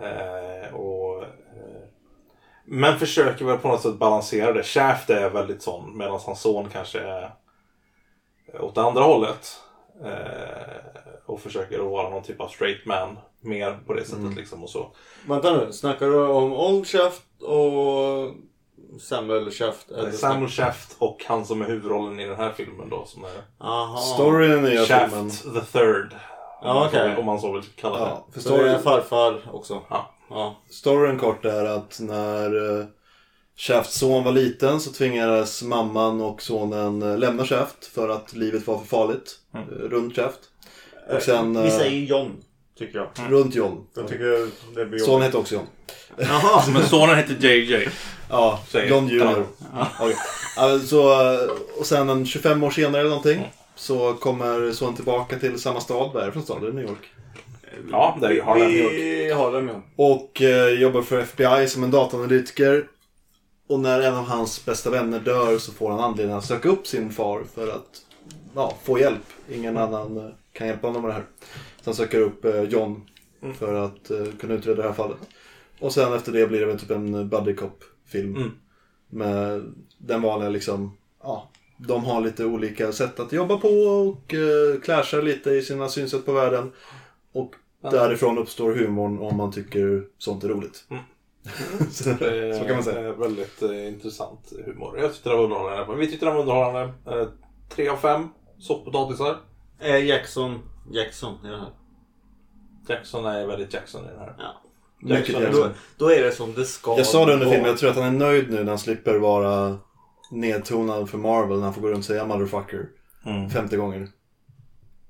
Eh, och, eh, men försöker väl på något sätt balansera det. Shaft är väldigt sån medan hans son kanske är åt det andra hållet. Eh, och försöker att vara någon typ av straight man mer på det sättet
Mm.
liksom och så.
Vänta nu, snackar du om Old Shaft och Samuel Shaft? Eller
Samuel Eh, Shaft och han som är huvudrollen i den här filmen då som är
Aha.
Storyn i den nya
Shaft
filmen.
the third. Om
Ja,
man så
okej.
vill- Om man så vill kalla det.
Ja, för
Så det är
storyn,
farfar också?
Ja.
ja.
storyn kort är att när eh, Shafts son var liten så tvingades mamman och sonen eh, lämna Shaft för att livet var för farligt eh, runt Shaft. Och sen
Vi
eh,
säger John, tycker jag.
runt John.
Jag tycker det blir
Sonen hette också John.
Jaha, men sonen heter JJ.
Ja,
Säger
John
Tarantino.
Junior. Okej. Alltså, och sen en 25 år senare eller någonting så kommer sonen tillbaka till samma stad. Vad är det för stad? Det är New York.
Ja, där har den gjort.
Vi har dem ja.
Och eh, jobbar för FBI som en dataanalytiker. Och när en av hans bästa vänner dör så får han anledning att söka upp sin far för att ja, få hjälp. Ingen annan eh, kan hjälpa honom med det här. Så han söker upp eh, John för att eh, kunna utreda det här fallet. Och sen efter det blir det väl typ en buddy cop film.
Mm.
Med den vanliga liksom, ja, de har lite olika sätt att jobba på och eh, clashar lite i sina synsätt på världen. Och därifrån uppstår humorn om man tycker sånt är roligt. så, så kan man säga.
Eh, Väldigt eh, intressant humor. Jag tyckte det var underhållande. Vi tyckte det var underhållande. Eh, tre av fem soffpotatisar.
Är Eh, Jackson Jackson i den här?
Jackson är väldigt Jackson i den här.
Ja.
Mycket
Jackson.
Jackson.
Då, då är det som det ska
Jag sa det under
vara.
filmen, jag tror att han är nöjd nu när han slipper vara nedtonad för Marvel när han får gå runt och säga 'motherfucker'
Mm.
50 gånger.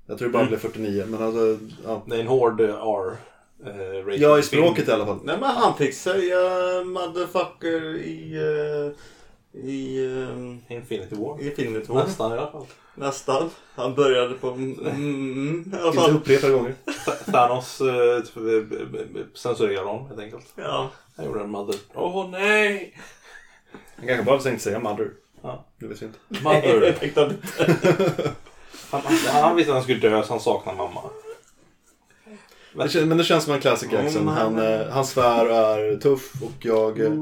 Jag tror det bara blev 49, men alltså... Ja,
Det är en hård eh, R. Eh, rated
ja i
film.
språket i alla fall.
Nej men han fick säga motherfucker i... eh, I... eh,
Infinity War.
I Infinity War.
Nästan i alla fall.
Nästan. Han började på... Mm, i alla
Inte
fall.
upprepade gånger.
Thanos eh, t- b- b- b- censurerade honom helt enkelt.
Ja.
Han gjorde en mother. Åh nej!
Han kanske bara tänkte säga 'mother'.
Ja.
Det vet vi inte.
Mother.
Jag tänkte han inte.
Han, han, han visste att han skulle dö så han saknar mamma.
Det kän- Men det känns som en classic Jackson. Han, eh, han svär och är tuff och jag, eh,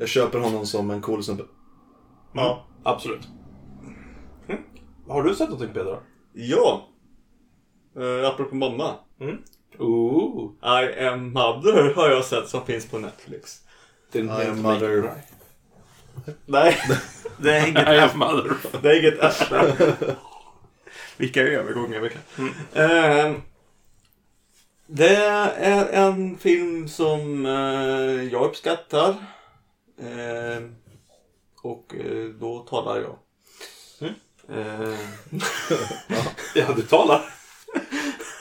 jag köper honom som en cool snubbe.
Absolut. Mm. Har du Hm? sett någonting Pedro?
Ja. Uh, apropå mamma.
Ooh.
I am mother har jag sett som finns på Netflix.
Didn't
I am
mean to make you
mother.
cry.
Nej, det är inget
I am mother.
Det är inget äsch. Vilka övergångar vi kan. Ehm, det är en film som eh, jag uppskattar. Ehm, och eh, då talar jag. Mm. Ehm,
Ja, du talar.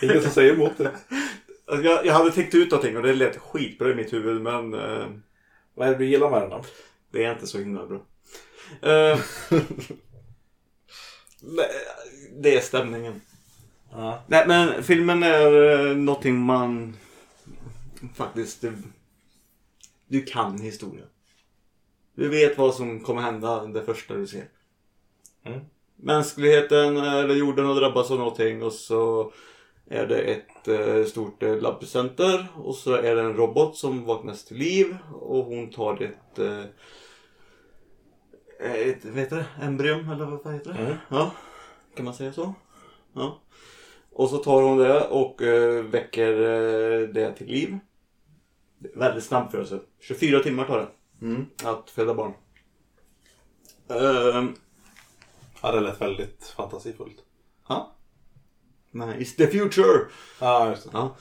Ingen som säger emot det.
alltså, jag, jag hade tänkt ut någonting och det lät skitbra i mitt huvud men eh,
Vad är det du gillar med den då?
det är inte så himla bra. Ehm, men, eh, det är stämningen.
Ja.
Nej men filmen är eh, någonting man faktiskt... Du, du kan historien. Du vet vad som kommer hända det första du ser.
Mm.
Mänskligheten eh, eller jorden har drabbats av någonting och så är det ett eh, stort eh, labbcenter och så är det en robot som vaknas till liv och hon tar ett... eh, ett vad heter det? Embryon eller vad fan heter det?
Mm.
Ja, kan man säga så? Ja. Och så tar hon det och eh, väcker eh, det till liv. Det är Väldigt snabb födelse. 24 timmar tar det.
Mm.
Att föda barn. Ehm,
Ja, det lät väldigt fantasifullt.
ja. Nej, it's the future!
Ja, just det.
Ja.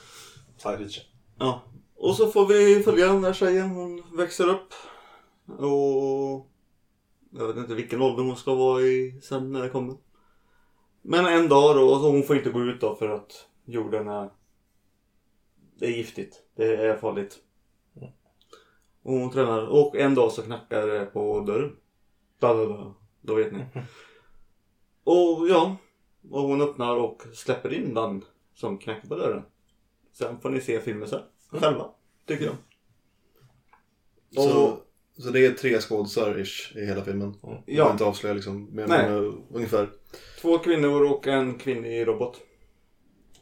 Side feature.
ja. Och så får vi följa den där tjejen. Hon växer upp. Och... Jag vet inte vilken ålder hon ska vara i sen när det kommer. Men en dag då, och så hon får inte gå ut då för att jorden är... Det är giftigt. Det är farligt. Och hon tränar. Och en dag så knackar det på dörren. Da, da, da. Då vet ni. Och ja. Och hon öppnar och släpper in den som knackar på dörren. Sen får ni se filmen sen. Själva. Tycker jag. Och,
Så, så det är tre skådisar ish i hela filmen. Ja. Jag
Ja.
vill inte avslöja liksom. Men,
Nej.
men, eh, ungefär.
Två kvinnor och en kvinnlig robot.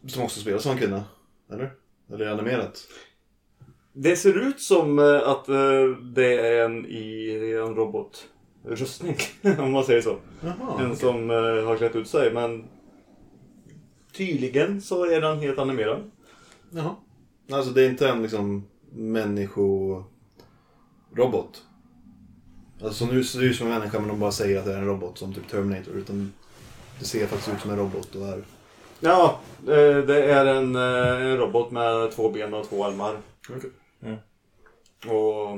Som också spelas som en kvinna. Eller? Eller är det animerat?
Det ser ut som eh, att eh, det är en i en robotrustning, om man säger så.
Jaha.
en som eh, har klätt ut sig, men tydligen så är den helt animerad.
Jaha. Alltså det är inte en liksom människorobot. Alltså nu ser det ut som en människa men de bara säger att det är en robot som typ Terminator. Utan det ser faktiskt ut som en robot och är...
Ja, eh, det är en, eh, en robot med två ben och två armar.
Okej.
Mm.
Och...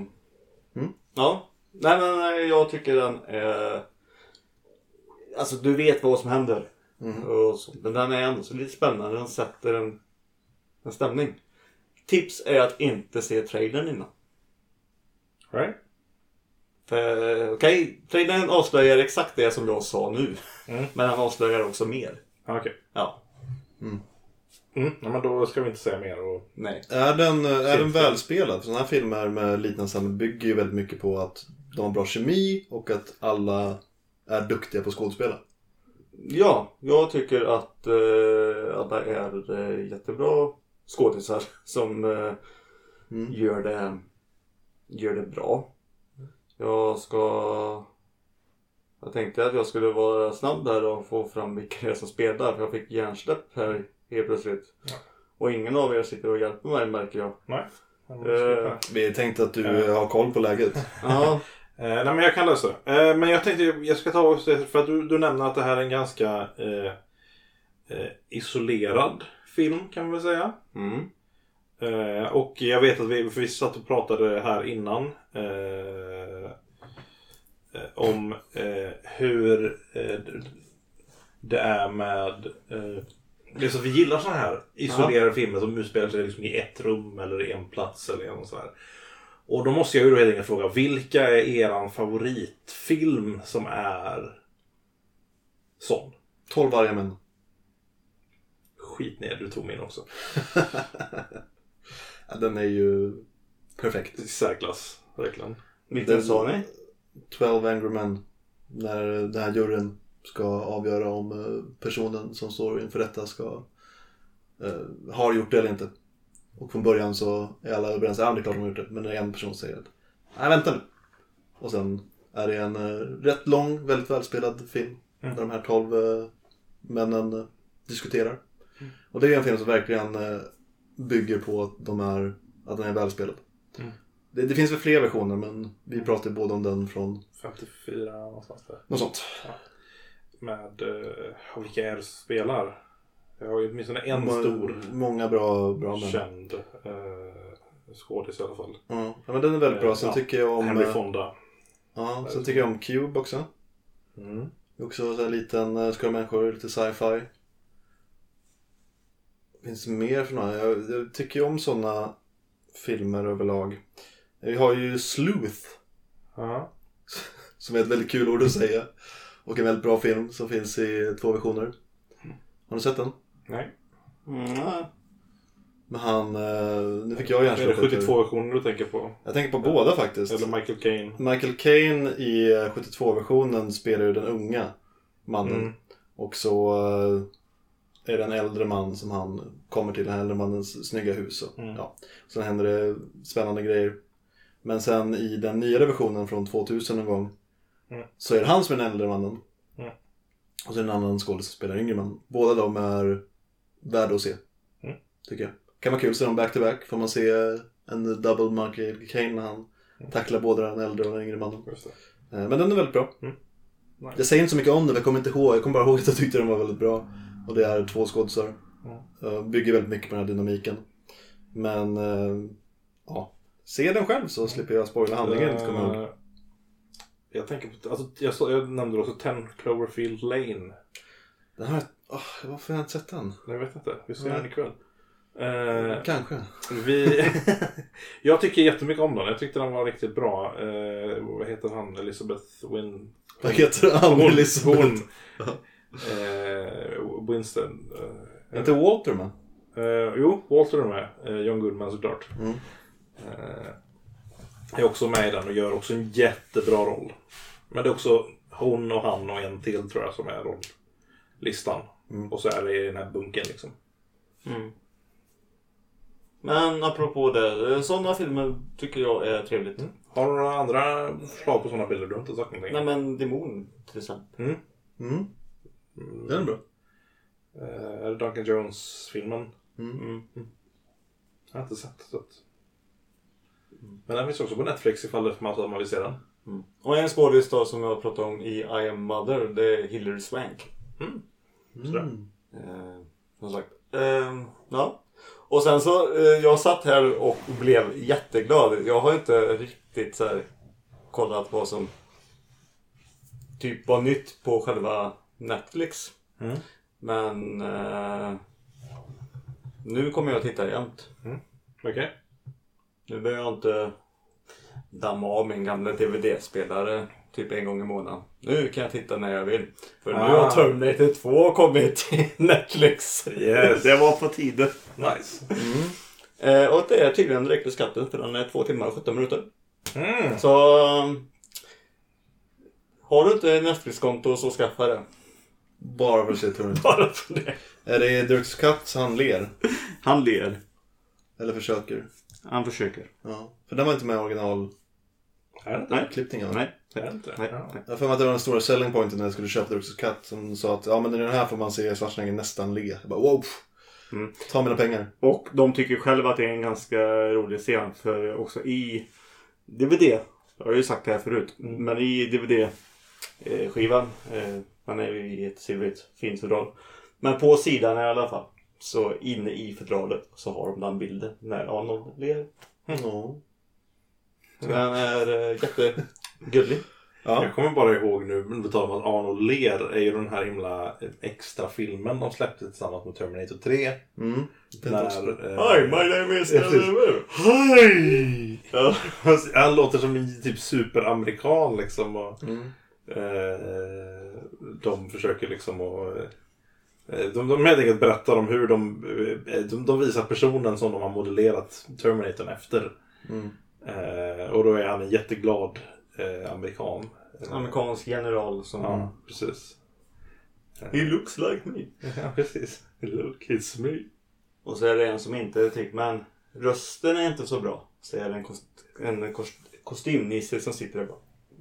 Mm.
Ja. Nej, men nej, jag tycker den är... Alltså, du vet vad som händer.
Mhm.
Och så. Men den är ändå så lite spännande. Den sätter en, en stämning. Tips är att inte se trailern innan.
Right?
För eh, okej, trailern avslöjar exakt det som jag sa nu.
Mm.
Men den avslöjar också mer.
Ja, Okej.
Ja.
Mm. Ja, men då ska vi inte säga mer. Och...
Nej.
Är den, eh, är den välspelad? För sådana här filmer med liknande samhälle bygger ju väldigt mycket på att de har bra kemi och att alla är duktiga på att skådespela.
Ja, jag tycker att eh, alla är eh, jättebra skådisar som eh,
Mm.
gör, det, gör det bra. Jag ska... Jag tänkte att jag skulle vara snabb där och få fram vilka det är som spelar för jag fick hjärnsläpp här helt plötsligt. Och ingen av er sitter och hjälper mig märker jag.
Nej. Ja, men
Eh.
så-
Vi tänkte att du eh, har koll på läget.
Ja,
Eh, nej men jag kan lösa det. Eh, men jag tänkte jag ska ta också det för att du, du nämner att det här är en ganska eh, eh, isolerad film kan man väl säga.
mm.
Eh, och jag vet att vi, för vi satt och pratade här innan eh, eh, om eh, hur eh, det är med... Eh, liksom vi gillar sådana här isolerade filmer som utspelar sig liksom i ett rum eller i en plats eller något sådär. Och då måste jag ju då helt enkelt fråga, vilka är eran favoritfilm som är sån?
12 varje män.
Skit ner, du tog min också.
Ja, Den är ju perfekt.
I särklass, verkligen.
Vilken
Den-
sa ni?
12 Angry Men. När den här juryn ska avgöra om eh, personen som står inför rätta ska eh, har gjort det eller inte. Och från början så är alla överens, ja det är klart de har gjort det. Men det är en person som säger att, nej vänta nu. Och sen är det en eh, rätt lång, väldigt välspelad film. Där de här 12 eh, männen eh, diskuterar. Och det är ju en film som verkligen eh, bygger på att, de är, att den är välspelad. Det, det finns väl fler versioner men vi pratade båda om den från
54 någonstans där.
något sånt.
Med, eh, vilka är det som spelar? Jag har ju åtminstone en
Må-
stor
Många bra, bra män.
känd eh, skådis i alla fall.
Ja, Ja, men den är väldigt bra. Sen
Ja.
tycker jag om...
Henry
eh,
Fonda.
Ja, sen tycker jag om Cube också.
Mm.
Det är Också så här liten eh, skara människor, lite sci-fi. Finns det mer för några? Jag, jag tycker ju om sådana filmer överlag. Vi har ju Sleuth,
Ja.
som är ett väldigt kul ord att säga. Och en väldigt bra film som finns i två versioner. Har ni sett den?
Nej.
nej.
Men han... eh, Nu fick jag
Är det
hjärnsläpp.
72-versioner du tänker på?
Jag tänker på båda faktiskt.
Eller Michael Caine?
Michael Caine i eh, 72-versionen spelar ju den unga mannen.
Mm.
Och så eh, är det en äldre man som han kommer till, den här äldre mannens snygga hus. Och,
Mm.
ja. Sen händer det spännande grejer. Men sen i den nyare versionen från 2000 någon gång
Mm.
så är det han som är den äldre mannen.
Mm.
Och så är det en annan skådespelare som spelar yngre man. Båda de är värda att se.
Mm.
Tycker jag. Kan vara kul att se dem back to back. Får man se en double monkey Kane när han
Mm.
tacklar både den äldre och den yngre mannen.
Just det.
Eh, Men den är väldigt bra.
Mm. Nice.
Jag säger inte så mycket om den, för jag kommer inte ihåg. Jag kommer bara ihåg att jag tyckte den var väldigt bra. Och det är två skådisar. Eh, Bygger väldigt mycket på den här dynamiken. Men, eh, ja. Se den själv så slipper jag spoila handlingen. inte kommer jag ihåg.
Eh, jag tänker på, alltså, jag, så, jag nämnde också 10 Cloverfield Lane.
Den här, oh, varför har jag inte sett den?
Jag vet inte, vi ser
Nej.
den ikväll. Eh,
Kanske.
vi... jag tycker jättemycket om den. Jag tyckte den var riktigt bra. Eh, vad heter han? Elizabeth Win...
Vad heter han?
Hon.
Elisabeth?
hon. Eh, Winston. Eh,
Inte Walter men.
Eh, jo, Walter är med. Eh, John Goodman såklart.
Mm.
Eh, är också med i den och gör också en jättebra roll. Men det är också hon och han och en till tror jag som är rolllistan. Och så är det i den här bunken liksom.
Men apropå det, sådana filmer tycker jag är trevligt.
Har du några andra förslag på sådana bilder? Du har inte sagt någonting.
Nej men Demon till exempel.
Mm. Den är bra.
Eh, är det Duncan Jones-filmen?
Mm.
Jag har inte sett så att... Men den finns också på Netflix ifall det- man man vill se den.
Och en skådis då som jag pratade om i I am mother, det är Hilary Swank.
Sådär.
Eh, som sagt. Ehm, ja. Och sen så, eh, jag satt här och blev jätteglad. Jag har inte riktigt så här kollat vad som typ var nytt på själva Netflix.
Mm.
Men eh, nu kommer jag att titta jämt.
Okej.
Nu behöver jag inte damma av min gamla DVD-spelare typ en gång i månaden. Nu kan jag titta när jag vill. För nu har
Ah.
Terminator 2 kommit till Netflix.
Yes.
Det var på tiden.
Nice.
Eh, och det är tydligen direkt ur skatten för den är två timmar och 17 minuter.
Mm.
Så... um, Har du inte Netflix-konto så skaffa det.
Bara för att se Tornet.
Bara för det.
Är det Dirks katt så han ler?
Han ler.
Eller försöker?
Han försöker.
Ja. För den var inte med i originalklippningen
Är det inte?
va?
Nej.
Är det inte?
Nej.
Ja.
Nej.
Jag har för mig att det var den stora selling pointen när jag skulle köpa Dirks katt som sa att ja men i den här får man se Schwarzenegger nästan le. Jag bara wow!
Mm.
Ta mina pengar.
Och de tycker själva att det är en ganska rolig scen. För också i DVD. Jag har ju sagt det här förut.
Mm.
Men i
eh,
DVD-skivan. Den är ju i ett silvrigt fint fodral.
Men på sidan i alla fall. Så inne i fodralet så har de den bilden när Arnold ler.
Ja.
Den är eh, jättegullig.
Ja.
Jag kommer bara ihåg nu, men på tal om att Arnold ler, är ju den här himla extra filmen de släppte tillsammans med Terminator eh, 3.
Mm. Den också.
När,
Hi, my name is...
Ja, precis. Hej! Han låter som en typ superamerikan liksom. Och,
Mm.
eh, de försöker liksom att... eh, De, de helt enkelt berättar om hur de, eh, de... De visar personen som de har modellerat Terminatorn efter.
Mm.
Eh, och då är han en jätteglad eh, amerikan. Eh,
Amerikansk general som...
Ja, precis.
He looks like me.
Ja, precis. Look, it's me.
Och så är det en som inte tycker men rösten är inte så bra. Så är det en, kost, en kost, kostymnisse som sitter där och bara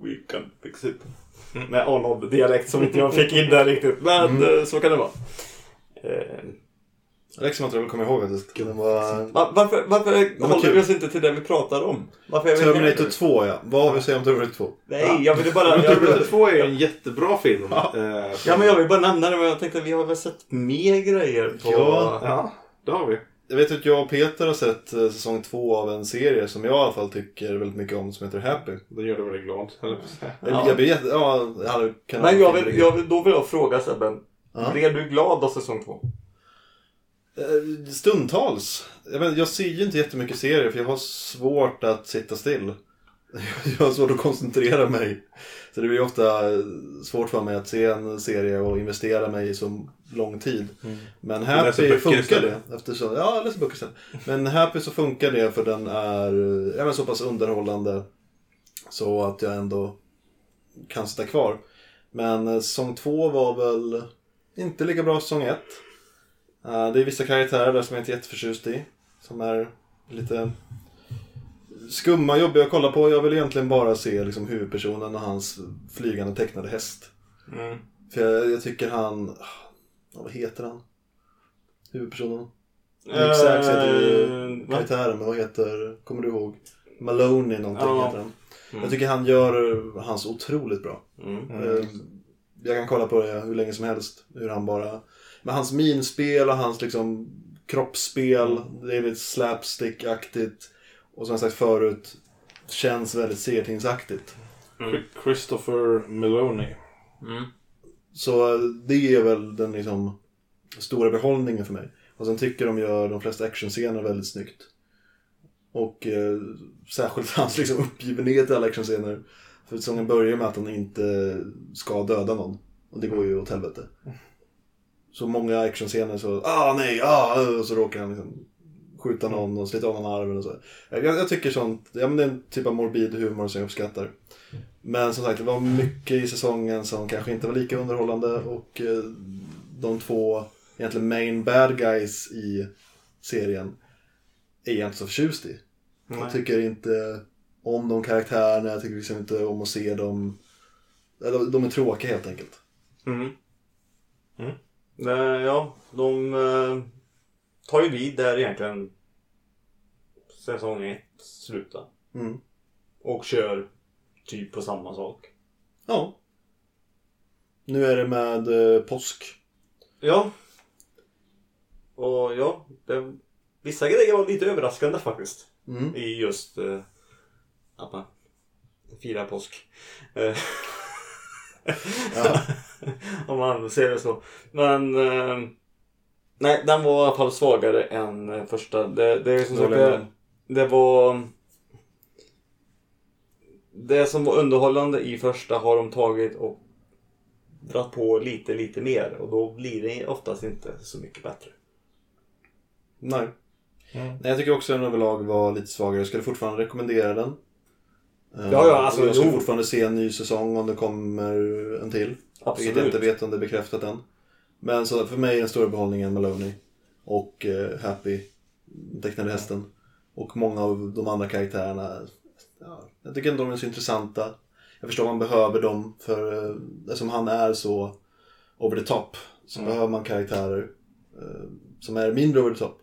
We can fix
Mm.
it. Med Arnold-dialekt som inte jag fick in där riktigt. Men eh, så kan det vara. Eh,
Alexa man inte kommer ihåg att det var
va- varför varför
men
håller
kul.
vi oss inte till det vi pratar om? Varför är vi
Terminator 2 ja. Vad har vi att säga om Terminator 2?
Nej, jag ville bara... Jag
Terminator
ville,
2 är ju en jättebra film. Eh,
ja, men jag vill bara nämna det, men jag tänkte att vi har väl sett mer grejer på...
Ja.
ja, det har vi.
Jag vet att jag och Peter har sett eh, säsong 2 av en serie som jag i alla fall tycker väldigt mycket om som heter Happy.
Den gör dig väldigt glad. höll jag på att säga.
Ja. Jag blir jätte... Ja, det hade- kan
Men jag vill, jag vill, då vill jag fråga Sebben.
Ja.
Blev du glad av säsong två?
Eh, Stundtals. Jag, men, jag ser ju inte jättemycket serier för jag har svårt att sitta still. Jag har svårt att koncentrera mig. Så det blir ofta eh, svårt för mig att se en serie och investera mig i så lång tid. Men
Mm. läser
Happy
böcker
funkar
istället.
det. Eftersom, ja, jag läser böcker sen. Men Happy så funkar det för den är eh, ja, men så pass underhållande så att jag ändå kan sitta kvar. Men eh, säsong två var väl inte lika bra som säsong ett. Eh, Det är vissa karaktärer där som jag inte är jätteförtjust i. Som är lite skumma, jobbiga att kolla på. Jag vill egentligen bara se liksom, huvudpersonen och hans flygande tecknade häst.
Mm.
För jag, jag tycker han... ja, Vad heter han? Huvudpersonen?
Eh,
Nick Sachs heter ju
va?
karaktären, men vad heter... Kommer du ihåg? Maloney någonting
Ja. Mm.
heter han. Jag tycker han gör hans otroligt bra. Eh, Jag kan kolla på det hur länge som helst. Hur han bara... Med hans minspel och hans liksom kroppsspel. Det är lite slapstick-aktigt. Och som jag sagt förut. Känns väldigt serietingsaktigt.
Mm. Christopher Meloni.
Så eh, det är väl den liksom stora behållningen för mig. Och sen tycker de gör de flesta actionscener väldigt snyggt. Och eh, särskilt hans liksom uppgivenhet i alla actionscener. För säsongen börjar med att han inte ska döda någon. Och det går ju åt helvete. Så många actionscener så, ah nej, ah, eh", och så råkar han liksom skjuta någon och slita av någon armen och så. Jag, jag tycker sånt, ja men det är en typ av morbid humor som jag uppskattar. Men som sagt, det var mycket i säsongen som kanske inte var lika underhållande och eh, de två egentligen main bad guys i serien är jag inte så förtjust i. Jag tycker inte om de karaktärerna, jag tycker liksom inte om att se dem. Eller, De är tråkiga helt enkelt.
Nej, ja, de eh, tar ju vid där egentligen säsong ett slutar.
Mm.
Och kör typ på samma sak.
Ja. Nu är det med eh, påsk.
Ja. Och ja, det, vissa grejer var lite överraskande faktiskt.
Mm.
I just eh, att man firar påsk. Eh,
Ja.
Om man ser det så. Men eh, nej, den var i alla fall svagare än eh, första. Det, det är som
Det
sagt,
håller jag med
det,
om.
det var... Det som var underhållande i första har de tagit och dratt på lite, lite mer. Och då blir det oftast inte så mycket bättre.
Nej.
Mm.
Nej, jag tycker också att den överlag var lite svagare. Jag skulle fortfarande rekommendera den. Eh,
Ja, ja, alltså,
och jag skulle
jo.
fortfarande se en ny säsong om det kommer en till. Vilket jag inte vet om det är bekräftat än. Men så för mig är den stora behållningen Maloney. Och eh, Happy, den tecknade hästen. Och många av de andra karaktärerna. Ja, jag tycker inte de är så intressanta. Jag förstår man behöver dem för eh, eftersom han är så over the top. Så behöver man karaktärer eh, som är mindre over the top.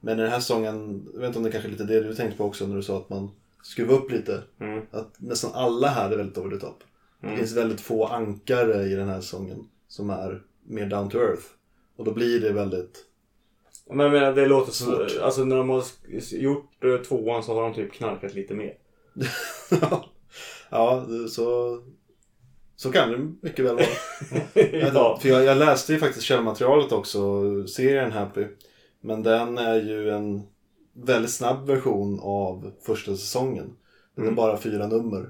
Men i den här säsongen, jag vet inte om det kanske är lite det du tänkte på också när du sa att man skruvar upp lite. Att nästan alla här är väldigt over the top. Det finns väldigt få ankare i den här säsongen som är mer down to earth. Och då blir det väldigt...
Men jag menar, det låter så... Alltså när de har sk- gjort eh, tvåan så har de typ knarkat lite mer.
ja, så... Så kan det mycket väl vara.
ja.
För jag, jag läste ju faktiskt källmaterialet också, serien Happy. Men den är ju en väldigt snabb version av första säsongen. Den är bara fyra nummer.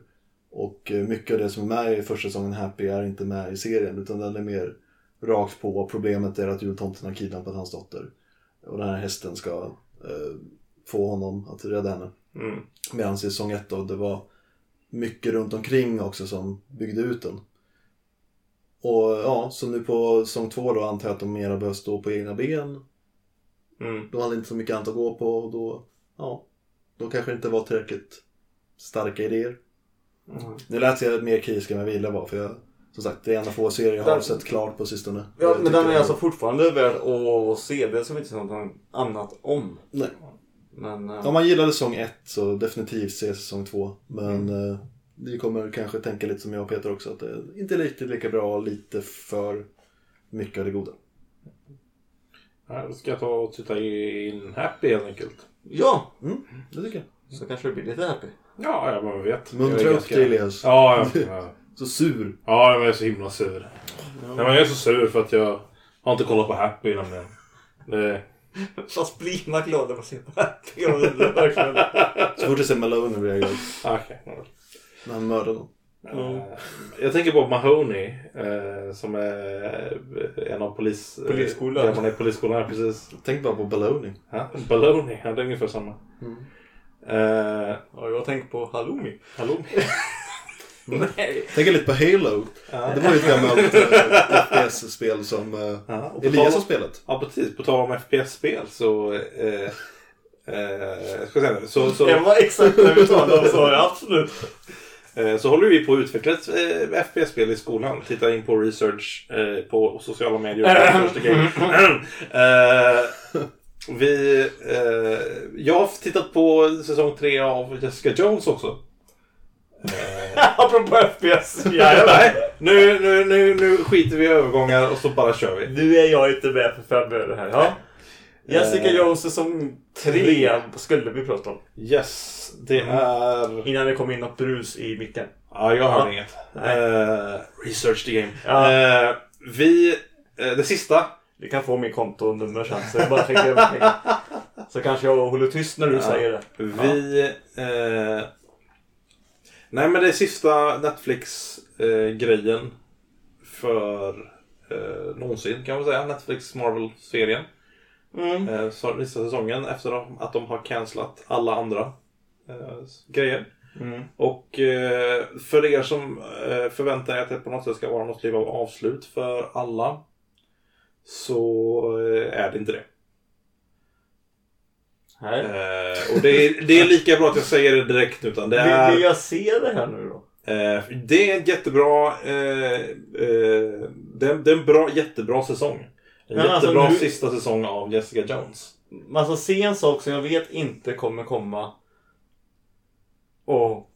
Och eh, mycket av det som är med i första säsongen Happy är inte med i serien. Utan den är mer rakt på. Problemet är att jultomten har kidnappat hans dotter. Och den här hästen ska eh, få honom att rädda henne.
Mm.
Medan i säsong ett då, det var mycket runt omkring också som byggde ut den. Och ja, så nu på säsong två då antar jag att de mera behöver stå på egna ben.
Mm.
De hade inte så mycket annat att gå på och då, ja, då kanske det inte var
Mm.
tillräckligt starka idéer. Nu lät jag mer kritisk än vad jag ville vara för jag Som sagt, det är en av få serier jag har sett klart på sistone.
Ja,
Jag
men den
tycker-
är alltså fortfarande värd att se. Det som inte sagt något annat om.
Nej.
Men eh,
Om man gillade säsong 1 så definitivt se säsong 2. Men
Mm.
eh, ni kommer kanske tänka lite som jag och Peter också. Att det är inte riktigt lika bra, lite för mycket av det goda.
Ja, Då ska jag ta och titta in Happy helt enkelt.
ja,
Mm, det tycker jag.
så kanske det blir lite happy.
Ja, ja, man vet. Jag är
Muntra upp
ganska-
dig Elias.
Ja, ja, ja.
Så sur.
Ja, jag är så himla sur. Nej, men jag är så sur för att jag har inte kollat på Happy nämligen. Det...
Fast blir man glad när man ser på happy? Jag undrar verkligen.
Så fort jag ser Malone blir jag glad.
ah, Okej.
När han mördar någon.
Eh, Jag tänker på Mahoney eh, som är eh, en av polis...
Polisskolan.
Ja, man är i polisskolan, ja, precis.
Tänk bara på Baloney.
Ja, Baloney, ja, det är ungefär samma. Eh,
Ja, jag har tänkt på halloumi.
hallå?
Nej.
Tänk lite på Halo. Det var ju ett gammalt eh, FPS-spel som eh,
Ja, och på
Elias
tal-
har spelat.
Ja, precis. På tal om FPS-spel så... Eh, eh, jag ska säga det. Så, så,
Det var exakt det vi talade om sa jag absolut.
eh, så håller vi på att utveckla ett eh, FPS-spel i skolan. Titta in på research eh, på sociala medier. Research the game.
mm,
eh, vi, eh, jag har tittat på säsong tre av Jessica Jones också.
Apropå FPS.
Nej, nu, nu, nu, nu skiter vi i övergångar och så bara kör vi.
Nu är jag inte med för fem öre här. Ja. Jessica
Eh.
Jones säsong tre skulle vi prata om.
Yes, det
Mm.
är...
Innan det kom in något brus i micken.
Ja, jag hörde
Ja.
inget.
Nej.
Eh, research the game.
Ja.
Eh, vi... eh, det sista.
Du kan få min kontonummer sen så jag bara skicka över pengar. Så kanske jag håller tyst när du säger det.
Vi... Eh, nej, men det sista Netflix-grejen för eh, någonsin kan man säga. Netflix Marvel-serien. Eh, så sista säsongen efter att de har cancelat alla andra eh, grejer. Och eh, för er som eh, förväntar er att det på något sätt ska vara något typ av avslut för alla. Så eh, är det inte det.
Nej.
Eh, och det är, det är lika bra att jag säger det direkt. Utan det, är,
Vill, vill jag se det här nu då?
eh, det är en jättebra... Eh, eh, det, är, det är en bra, jättebra säsong. En
Men alltså,
jättebra
nu-
sista säsong av Jessica Jones.
Men Alltså se en sak som jag vet inte kommer komma. Och...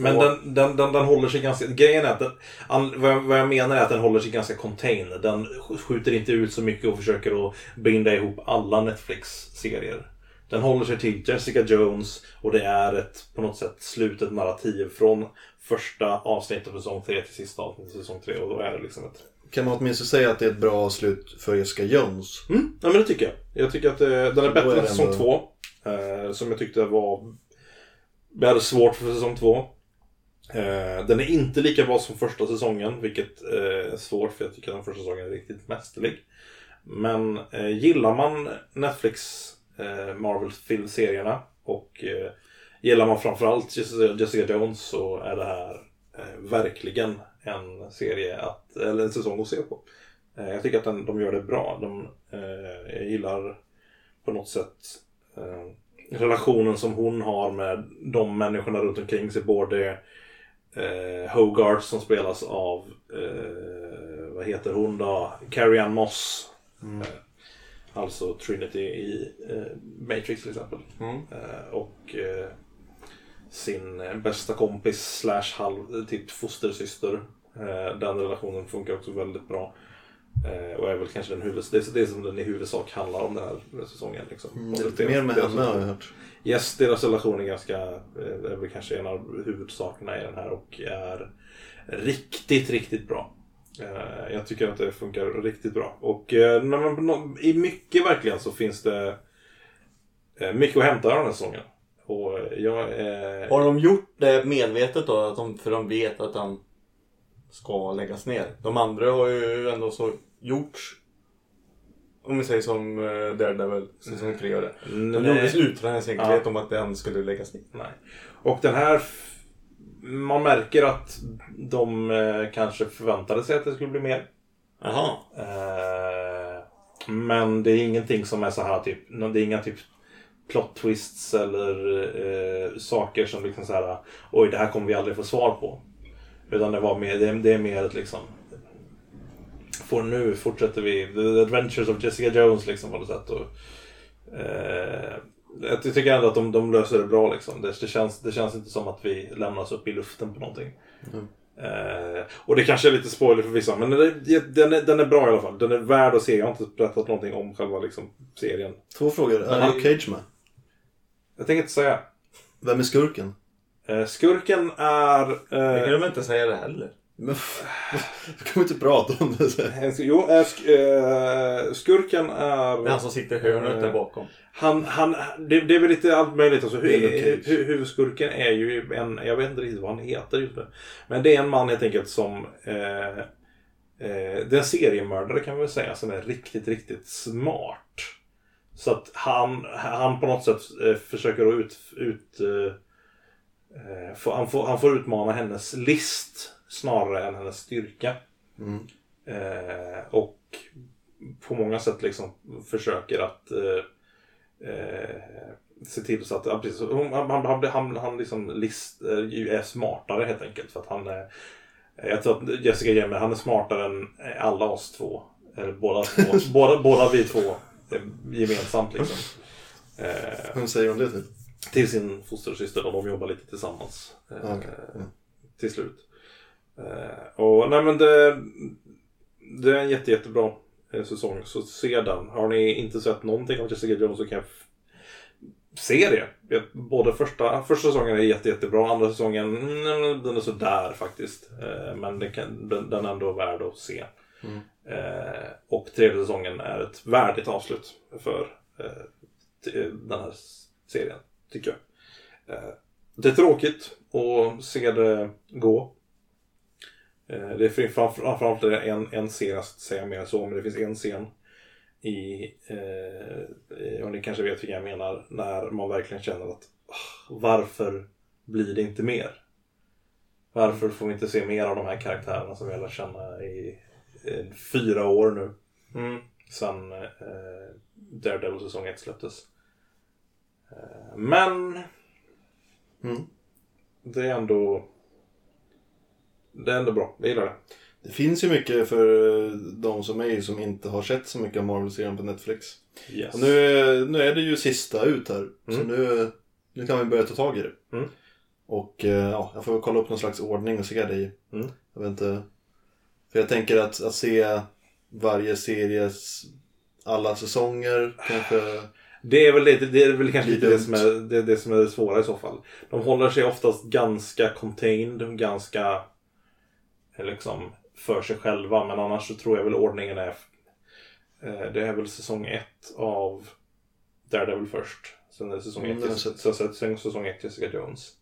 Men
Och-
den, den, den, den håller sig ganska... Grejen är att den, an, vad, jag, vad jag menar är att den håller sig ganska contained. Den sk- skjuter inte ut så mycket och försöker att binda ihop alla Netflix-serier. Den håller sig till Jessica Jones och det är ett på något sätt slutet narrativ från första avsnittet av säsong 3 till sista avsnittet av säsong 3 och då är det liksom ett...
Kan man åtminstone säga att det är ett bra avslut för Jessica Jones?
Mm, ja, men det tycker jag. Jag tycker att eh, den är
är
bättre än
det
säsong
ändå-
två. Eh, som jag tyckte var... Jag hade svårt för säsong två. Eh, den är inte lika bra som första säsongen, vilket eh, är svårt för jag tycker den första säsongen är riktigt mästerlig. Men eh, gillar man Netflix eh, Marvel-serierna och eh, gillar man framförallt Jessica Jessica Jones så är det här eh, verkligen en serie att, eller en säsong att se på. Eh, jag tycker att den, de gör det bra. De, eh, jag gillar på något sätt eh, relationen som hon har med de människorna runt omkring sig. Både eh, Hogarth som spelas av, eh, vad heter hon då? Carrie Ann Moss. Eh, alltså Trinity i eh, Matrix till exempel. Eh, och eh, sin eh, bästa kompis slash halv, typ fostersyster. Eh, den relationen funkar också väldigt bra. Eh, och är väl kanske den huvud, det, är, det är som den i huvudsak handlar om den här säsongen. Liksom.
Det är
Och
Mm, lite
deras-
mer med
deras-
henne har jag hört.
Yes, deras relation är ganska, eh, är väl kanske en av huvudsakerna i den här och är riktigt, riktigt bra. Eh, Jag tycker att det funkar riktigt bra. Och eh, när man, nå- i mycket verkligen så finns det eh, mycket att hämta av den här säsongen. Och eh, jag är...
Har de gjort det medvetet då? Att de, för de vet att den ska läggas ner. De andra har ju ändå så gjorts. Om vi säger som eh, Daredevil säsong 3 och det. De gjordes utan en säkerhet om att den skulle läggas ner.
Nej. Och den här... f- Man märker att de eh, kanske förväntade sig att det skulle bli mer.
Jaha.
Eh, men det är ingenting som är så här typ, det är inga typ plot twists eller eh, saker som liksom så här, oj det här kommer vi aldrig få svar på. Utan det, var mer, det, det är mer ett liksom... För nu fortsätter vi The Adventures of Jessica Jones liksom på något sätt. Och, eh, jag tycker ändå att de, de löser det bra liksom. Det, det, känns, det känns inte som att vi lämnas upp i luften på någonting. Eh, och det kanske är lite spoiler för vissa, men den är, den, är, den är bra i alla fall. Den är värd att se. Jag har inte berättat någonting om själva liksom, serien.
Två frågor. Är
Nej.
Luke Cage med?
Jag tänker inte säga.
Vem är skurken?
Eh, skurken är...
Det
Eh,
kan de inte säga det heller.
Men f- då kan vi inte prata om det.
en sk- jo, eh, sk, eh, skurken är...
Det är han som sitter i hörnet där bakom.
Han, han, det, det är väl lite allt möjligt. Alltså,
Det är Luke
hu,
Cage.
hu, huvudskurken är ju en, jag vet inte riktigt vad han heter just nu. Men det är en man helt enkelt som, eh, eh, det är en seriemördare kan man väl säga, som är riktigt, riktigt smart. Så att han, han på något sätt eh, försöker att ut, ut eh, eh, få, han, får, han får utmana hennes list snarare än hennes styrka.
Mm.
Eh, och på många sätt liksom försöker att eh, eh, se till så att, ja, precis, hon- han, han, han, han, han liksom list, eh, ju är smartare helt enkelt. För att han är, jag tror att Jessica Jemmer, han är smartare än eh, alla oss två. Eller båda två, båda, båda vi två eh, gemensamt liksom. Eh,
Vem säger om det typ?
till sin fostersyster och de jobbar lite tillsammans. Eh,
Ja, okej.
till slut. Eh, och nej men det, det är en jätte, jättebra eh, säsong. Så se den. Har ni inte sett någonting av Jessica Jones så kan jag f- se det. Jag- Både första, första säsongen är jätte, jättebra. Andra säsongen, mm, den är sådär faktiskt. Eh, men det kan, den, den är ändå värd att se. Eh, och tredje säsongen är ett värdigt avslut för eh, t- eh, den här s- serien, tycker jag. Eh, det är tråkigt att se det gå. Eh, det finns framför- framförallt är det en, en scen, jag ska inte säga mer än så, men det finns en scen i, eh, i- och ni kanske vet vilken jag menar, när man verkligen känner att "Ah, varför blir det inte mer? Varför får vi inte se mer av de här karaktärerna som vi har lärt känna i eh, fyra år nu? Sen eh, Daredevil säsong 1 släpptes. Eh, men
Mm.
det är ändå... Det är ändå bra. Jag gillar det.
Det finns ju mycket för eh, de som är som inte har sett så mycket av Marvel-serien på Netflix.
Yes.
Och nu, är- nu är det ju sista ut här. Så nu, nu kan vi börja ta tag i det.
Mm.
Och eh, ja, jag får väl kolla upp någon slags ordning och se det i.
Mm.
Jag vet inte. För jag tänker att, att se varje series alla säsonger kanske.
Det är väl, lite, det är väl kanske
Lite
lite det
dumt.
som, är, det, det som är det svåra i så fall. De håller sig oftast ganska contained, ganska eh, liksom för sig själva. Men annars så tror jag väl ordningen är... eh, Det är väl säsong ett av Daredevil först. Sen är det säsong
Mm,
ett
det har
Jessica-
jag
sen- sen- sen säsong ett Jessica Jones.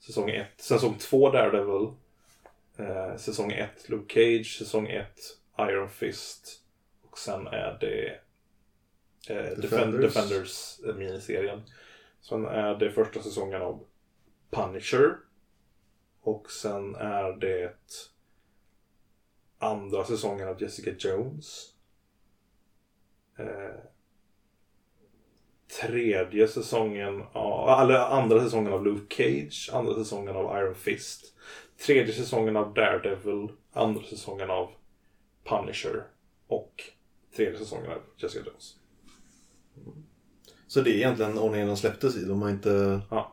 Säsong ett säsong två Daredevil. Eh, säsong ett Luke Cage. Säsong ett Iron Fist. Och sen är det eh, Defenders,
Defenders.
Defenders eh, miniserien. Sen är det första säsongen av Punisher. Och sen är det andra säsongen av Jessica Jones. Eh, tredje säsongen av, eller andra säsongen av Luke Cage, andra säsongen av Iron Fist. Tredje säsongen av Daredevil, andra säsongen av Punisher och tredje säsongen av Jessica Jones.
Så det är egentligen ordningen de släpptes i. De har inte
Ja.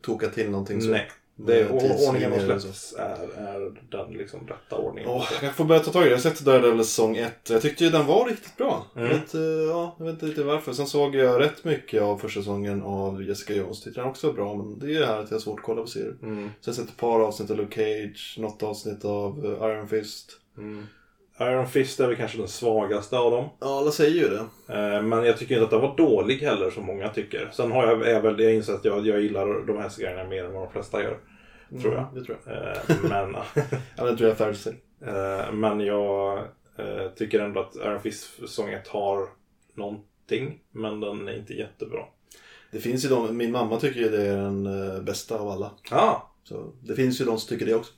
tokat till någonting. Så.
Nej, det är,
Med tidslinjer
ordningen de
eller
släpps är, är den liksom rätta ordningen.
Åh, jag får börja ta tag i det. Jag har sett Daredevil säsong 1. Jag tyckte ju den var riktigt bra.
Mm.
Jag, vet, eh, ja, jag vet inte riktigt varför. Sen såg jag rätt mycket av första säsongen av Jessica Jones. Tyckte den också var bra. Men det är ju det här att jag har svårt att kolla på serier.
Mm.
Sen har jag sett ett par avsnitt av Luke Cage. Något avsnitt av eh, Iron Fist.
Iron Fist är väl kanske den svagaste av dem.
Ja, alla säger ju det.
Eh, Men jag tycker inte att den var dålig heller som många tycker. Sen har jag, är väl, jag inser att jag, jag gillar de här serierna mer än vad de flesta gör. Tror jag.
Mm, det tror jag.
Eh, Men,
Ja, det tror jag är färdigt.
eh, men jag eh, tycker ändå att Iron Fist säsong 1 har någonting. Men den är inte jättebra.
Det finns ju de, min mamma tycker ju det är den eh, bästa av alla.
Ah,
Så det finns ju de som tycker det också.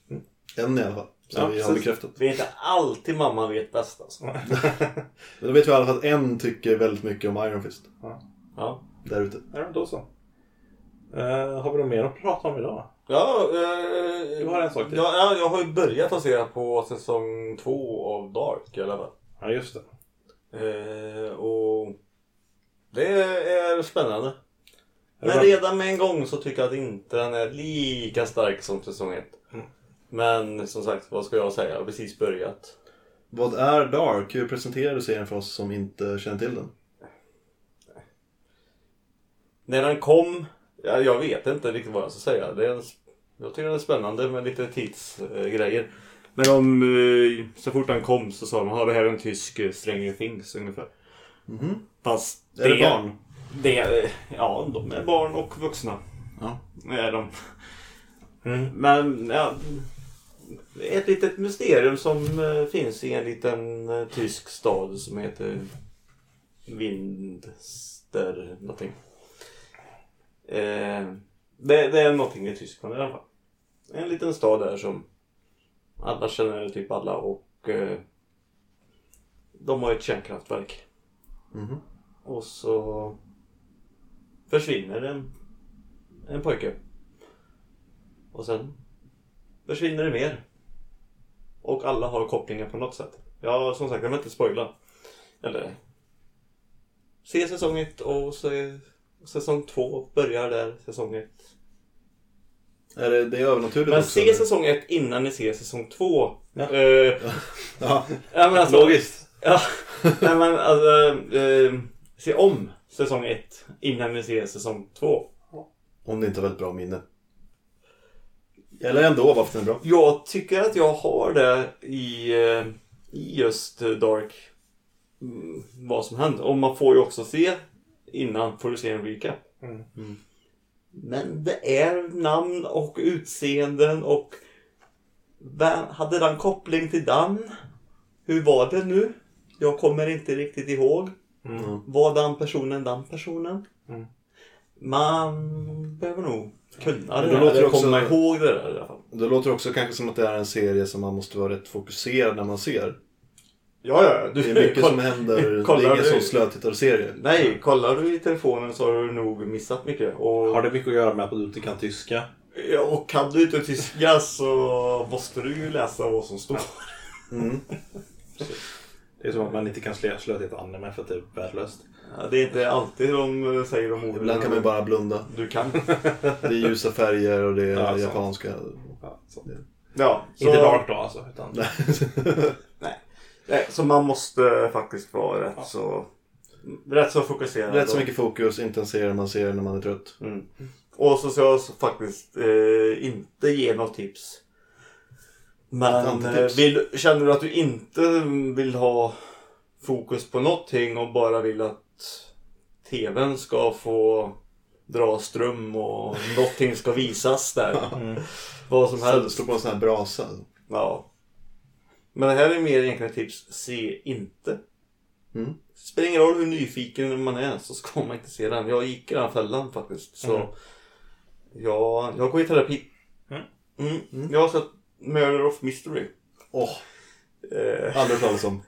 En i alla fall. Som
Mm. Ja,
vi har
precis.
bekräftat.
Det är inte alltid mamma vet bäst alltså.
Men då vet vi i alla fall att en tycker väldigt mycket om Iron Fist.
Ja.
Där ute.
ja, då så. Eh, har vi något mer att prata om idag?
Ja, eh,
Du har en sak till.
Ja, ja, jag har ju börjat att se på säsong två av Dark i alla fall.
Ja, just det.
Eh, och det är spännande.
det
Men
bra?
redan med en gång så tycker jag att inte den är lika stark som säsong ett.
Mm.
Men som sagt, vad ska jag säga? Jag har precis börjat.
Vad är Dark? Hur presenterar du serien för oss som inte känner till den?
När den kom, ja, jag vet inte riktigt vad jag ska säga. Det är en, jag tycker den är spännande med lite tidsgrejer. Eh, grejer. Men de, eh, så fort den kom så sa de att det här är en tysk eh, Stranger Things ungefär. Fast
Mhm. Är det barn?
Det, eh, ja, de är barn och vuxna.
Ja. Mm.
Det är de. Men ja, det är ett litet mysterium som eh, finns i en liten eh, tysk stad som heter Winster någonting. Eh, det, det är någonting i Tyskland i alla fall. En liten stad där som alla känner typ alla och eh, de har ett kärnkraftverk. Och så försvinner en, en pojke. Och sen försvinner det mer. Och alla har kopplingar på något sätt. Ja, som sagt, jag vill inte spoila. Eller... Se säsong 1 och se, säsong 2 börjar där, säsong 1.
Är det, det är övernaturligt
Men
också,
se
eller?
säsong 1 innan ni ser säsong 2.
Ja.
Eh,
Ja,
ja, men alltså,
Logiskt.
Ja, nej men alltså... Eh, se om säsong 1 innan ni ser säsong 2.
om det inte var ett bra minne. Eller ändå, varför den är bra.
Jag tycker att jag har det i, eh, i just eh, Dark. Mm, Vad som händer. Och man får ju också se innan får du se en recap.
Mm.
Men det är namn och utseenden och vem, hade den koppling till den? Hur var det nu? Jag kommer inte riktigt ihåg.
Mm.
Var den personen den personen? Man behöver nog kunna det,
det
där,
låter
eller
också-
komma ihåg det där i alla fall.
Det låter också kanske som att det är en serie som man måste vara rätt fokuserad när man ser.
Ja, ja. Du,
Det är mycket
koll-
som händer.
kollar
det är ingen
du-
sån slötittarserie.
Nej, kollar du i telefonen så har du nog missat mycket. Och,
Har det mycket att göra med att du inte kan tyska?
Ja, och kan du inte tyska så måste du ju läsa vad som står.
Det är som att man inte kan slö- slöa till ett anime för att det är värdelöst.
Ja, det är inte alltid de eh, säger de orden.
Ibland kan man ju bara blunda.
Du kan.
Det är ljusa färger och det är
Ja, sant.
japanska.
Ja, så.
Ja, så,
Inte Dark då alltså. Utan...
Nej, så man måste faktiskt vara rätt så... Rätt så fokuserad.
Rätt så mycket fokus, inte en serie man ser när man är trött.
Mm. Och så ska jag så faktiskt eh, inte ge något tips. Men
Inte
eh,
tips.
vill, känner du att du inte vill ha fokus på någonting och bara vill att TVn ska få dra ström och någonting ska visas där.
Mm.
Vad som
Så
helst.
Slå på en sån här brasa.
Ja. Men det här är mer egentligen ett tips. Se inte.
Mm.
Spelar ingen roll hur nyfiken man är så ska man inte se den. Jag gick i den fällan faktiskt. Så
Mm.
jag, jag går i terapi.
Mm.
Mm. Jag har sett Murder of Mystery.
Åh,
Eh,
aldrig hört talas om.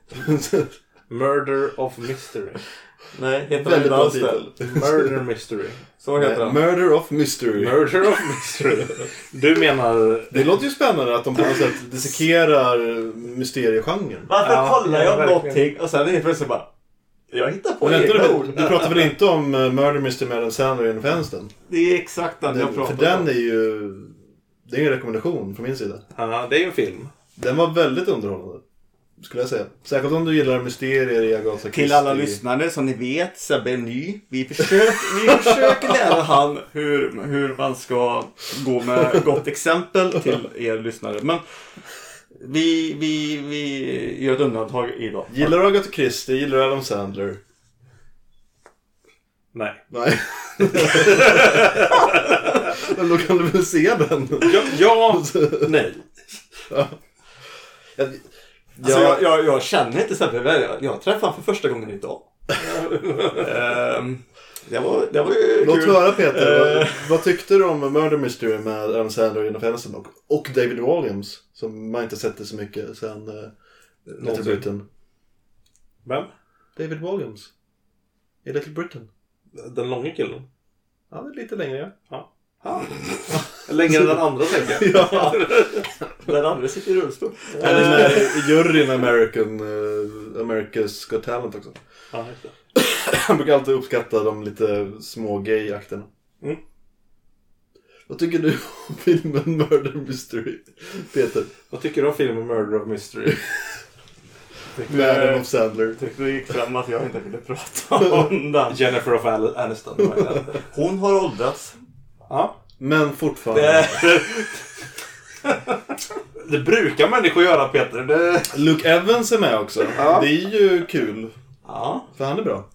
Murder of Mystery.
nej, heter den
Väldigt
inte
bra
alls det?
titel.
Murder Mystery.
Så heter den.
Murder of Mystery.
Murder of Mystery. Du menar...
Det låter ju spännande att de på något sätt dissekerar mysteriegenren.
Varför
Ja,
kollar jag
ja, verkligen.
någonting och sen helt plötsligt bara... Jag hittar på
Men vänta
egna
nu,
ord.
du pratar väl inte om eh, Murder Mystery med Adam Sandler i Fenstern?
Det är exakt den jag pratar
För
om.
den är ju... Det är ju en rekommendation från min sida.
Ja, det är ju en film.
Den var väldigt underhållande. Skulle jag säga. Särskilt om du gillar mysterier i Agatha Christie.
Till alla lyssnare, som ni vet, Sebbe är ny. Vi försöker, vi försöker lära han hur, hur man ska gå med gott exempel till er lyssnare. Men vi, vi, vi gör ett undantag idag.
Gillar du Agatha Christie? Gillar du Adam Sandler?
Nej.
Nej. Men då kan du väl se den?
Ja, ja nej.
Jag,
Alltså,
jag,
jag, jag, jag känner inte Sebbe väl. Jag, jag träffade honom för första gången idag. Ehm, det, var, det var ju
låt
kul.
höra Peter.
Eh.
Vad, vad tyckte du om Murder Mystery med Adam Sandler i Fenstern och, och David Williams? Som man inte sett det så mycket sen eh, Little
Någonsin.
Britain.
Vem?
David Williams. I Little Britain.
Den långa killen?
Han är lite längre ja.
Ja. Längre än den andra tänker jag.
Ja.
Den andra sitter i rullstol. Ehm,
Han är med i juryn i American, eh, America's Got Talent också.
Ja, just det.
Han brukar alltid uppskatta de lite små gay-akterna.
Mm.
Vad tycker du om filmen Murder Mystery? Peter,
Vad tycker du om filmen Murder of Mystery?
med Adam Sandler.
Tyckte det gick fram att jag inte ville prata om den.
Jennifer of Al- Aniston. vad är det?
Hon har åldrats.
ja.
Men fortfarande.
det, det brukar människor göra Peter. Det...
Luke Evans är med också.
Ja.
Det är ju kul,
Ja,
för han är bra.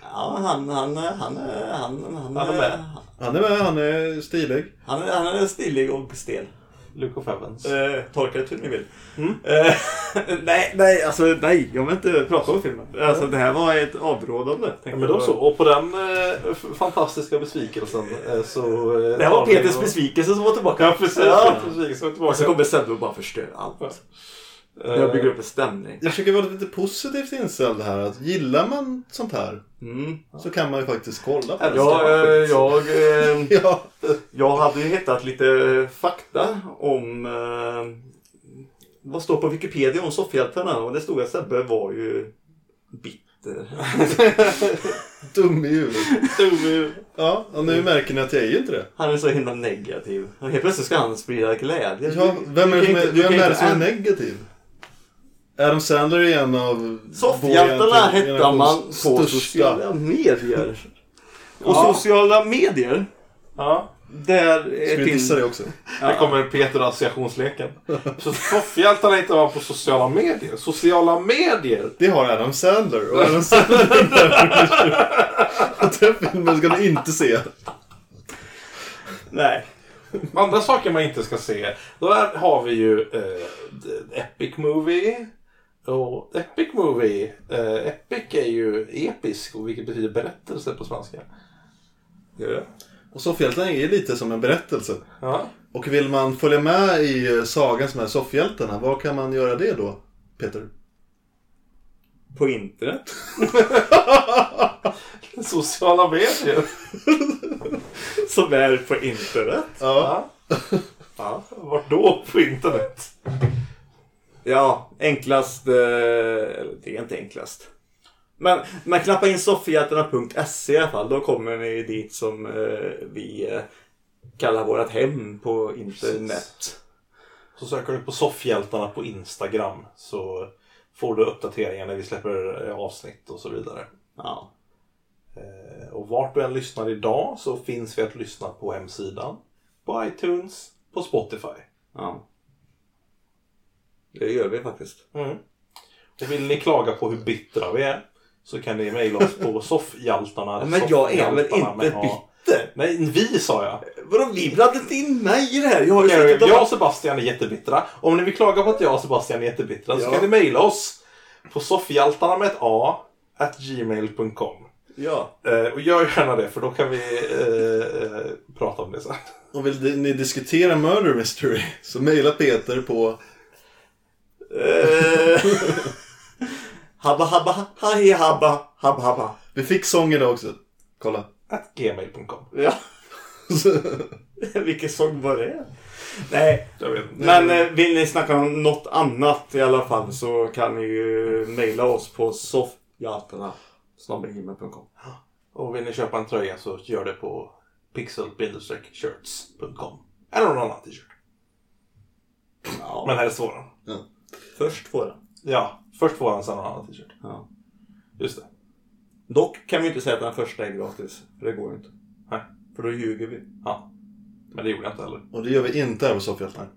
ja han, han, han, är- han, han,
Han är med.
Han är med, han är stilig.
Han, är- han är stilig och stel.
Luke of Evans.
Eh, tolka det hur ni vill.
Mm.
Eh, nej, nej, alltså nej. Jag vill inte prata om filmen. Alltså det här var ett avrådande. tänkte
Ja, men då
jag.
så. Och på den eh, f- fantastiska besvikelsen eh, så... Eh,
Det här var
tar vi
Peters
och-
besvikelse som var tillbaka.
Ja, precis. Ja, precis. Så
Och så
tillbaka.
kommer Sebbe och bara förstör allt.
Eh,
Jag bygger upp en stämning.
Jag försöker vara lite positivt inställd här. Att gillar man sånt här
Mm.
så kan man ju faktiskt kolla på det.
Ja, eh, jag, eh,
Ja.
jag hade ju hittat lite fakta om eh, vad står på Wikipedia om soffhjältarna och det stod att Sebbe var ju bitter.
Dum i huvudet.
dum i-
Ja, och nu märker ni att jag är ju inte det.
Han är så himla negativ. Och helt plötsligt ska han sprida glädje.
Ja,
Du-
vem
du
är det
kan
som
inte-
är,
du kan
vem är, det
inte-
som är negativ? Adam Sandler är en av...
Soffhjältarna
vår
hittar man på
generations
sociala medier. Och sociala medier,
Ja.
där
Ska
är
vi dissa
finns...
det också?
Här kommer Peter och associationsleken. Så soffhjältarna hittar man på sociala medier. Sociala medier!
Det har Adam Sandler. Och Adam Sandler är där. Den filmen ska ni inte se.
Nej.
Andra saker man inte ska se. Då här har vi ju eh, d- Epic Movie. Och Epic Movie. Eh, epic är ju episk, och vilket betyder berättelse på svenska.
Gör det?
Och Soffhjältarna är lite som en berättelse.
Ja.
Och vill man följa med i sagan som är Soffhjältarna, var kan man göra det då? Peter?
På internet.
Sociala medier.
Som är på internet.
Ja.
Ja. Vart då? På internet?
Ja, enklast... eh, Eller det är inte enklast. Men, men knappa in soffhjältarna.se E i alla fall. Då kommer ni dit som eh, vi eh, kallar vårt hem på internet.
Så söker du på soffhjältarna på Instagram så får du uppdateringar när vi släpper eh, avsnitt och så vidare.
Ja.
Eh, Och vart du än lyssnar idag så finns vi att lyssna på hemsidan, på iTunes, på Spotify.
ja. Det gör vi faktiskt.
Mm. Och vill ni klaga på hur bittra vi är så kan ni mejla oss på soffhjältarna.
Men jag är väl
soffhjältarna
inte
med A.
bitter?
Nej, vi sa jag.
Vadå, vi blandade inte in mig i det här. Jag har ju
Gary,
suttit och...
Jag och Sebastian är jättebittra. Om ni vill klaga på att jag och Sebastian är jättebittra så
Ja.
kan ni mejla oss på soffhjältarna med ett A at gmail.com.
Ja.
Eh, och gör gärna det för då kan vi eh, eh, prata om det sen.
Och vill ni diskutera Murder Mystery så mejla Peter på
Eh, habba, habba, haj, habba, habba, habba.
Vi fick sång idag också. Kolla.
At gmail.com.
Ja. Vilken sång var det? Nej,
Jag vet inte.
men eh, vill ni snacka om något annat i alla fall så kan ni ju mejla oss på soffhjältarna. snabelgmail.com.
Och vill ni köpa en tröja så gör det på pixel-shirts.com. Eller någon annan t-shirt.
Ja,
Men helst våran.
först våran.
Ja, först våran sen någon annan t-shirt.
Ja.
Just det.
Dock kan vi inte säga att den första är gratis. För det går ju inte.
Nej.
För då ljuger vi.
Ja. Men det gjorde jag inte heller.
Och det gör vi inte här på Soffhjältarna.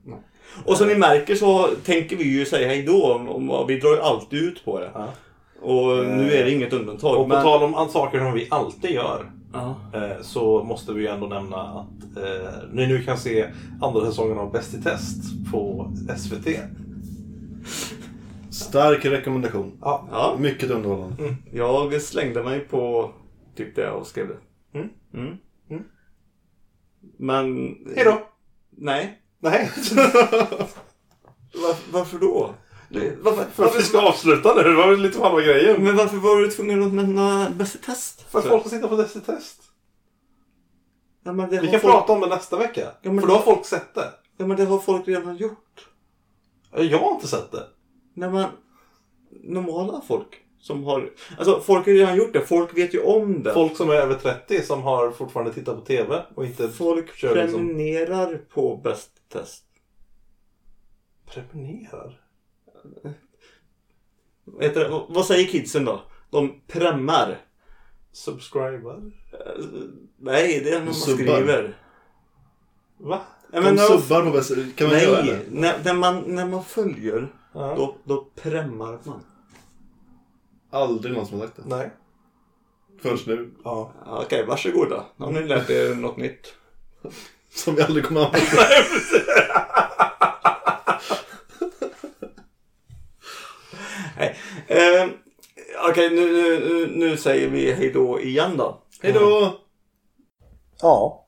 Och som ni märker så tänker vi ju säga hej då. Om, om, vi drar ju alltid ut på det.
Ja. Eh,
Och nu är det inget undantag.
Och på tal om an- saker som vi alltid gör
ja.
eh, så måste vi ju ändå nämna att eh, ni nu kan se andra säsongen av Bäst i test på SVT.
Stark rekommendation.
Ja,
ja,
Mycket underhållande.
Mm. jag slängde mig på typ det och skrev det.
Mm.
Mm.
Mm.
Men...
hejdå!
Nej.
Nej,
Var, varför då? Du, varför,
för att vi
varför,
ska avsluta nu. Det var väl lite halva grejen.
men varför var du tvungen att nämna Bäst i test?
För att folk ska sitta på Bäst i test.
Ja, men det
Vi
har
kan
folk,
prata om det nästa vecka.
Ja, men-
För då har folk sett det.
Ja, men det har folk redan gjort.
Jag har inte sett det.
Nej, men normala folk som har... Alltså folk har ju redan gjort det. Folk vet ju om det.
Folk som är över 30 som har fortfarande tittat på TV och inte
folk
kör liksom...
prenumererar på Bäst test.
Prenumererar?
Vad Heter det, vad säger kidsen då? De premmar.
Subscriber?
Nej, det är när man
Subbar.
skriver.
Va?
Nej,
De
men när,
subbar på bäst... Kan man inte göra
nej
det?
när, när, man, när man följer,
Ja.
då, då premmar man.
Aldrig någon som har sagt det.
Nej.
Förrän nu.
Ja.
Ja, Okej, varsågoda. Nu har ni lärt er något nytt.
Som vi aldrig kommer att använda.
Eh, Okej, nu, nu, nu- nu säger vi hejdå igen då.
Hejdå!
Ja.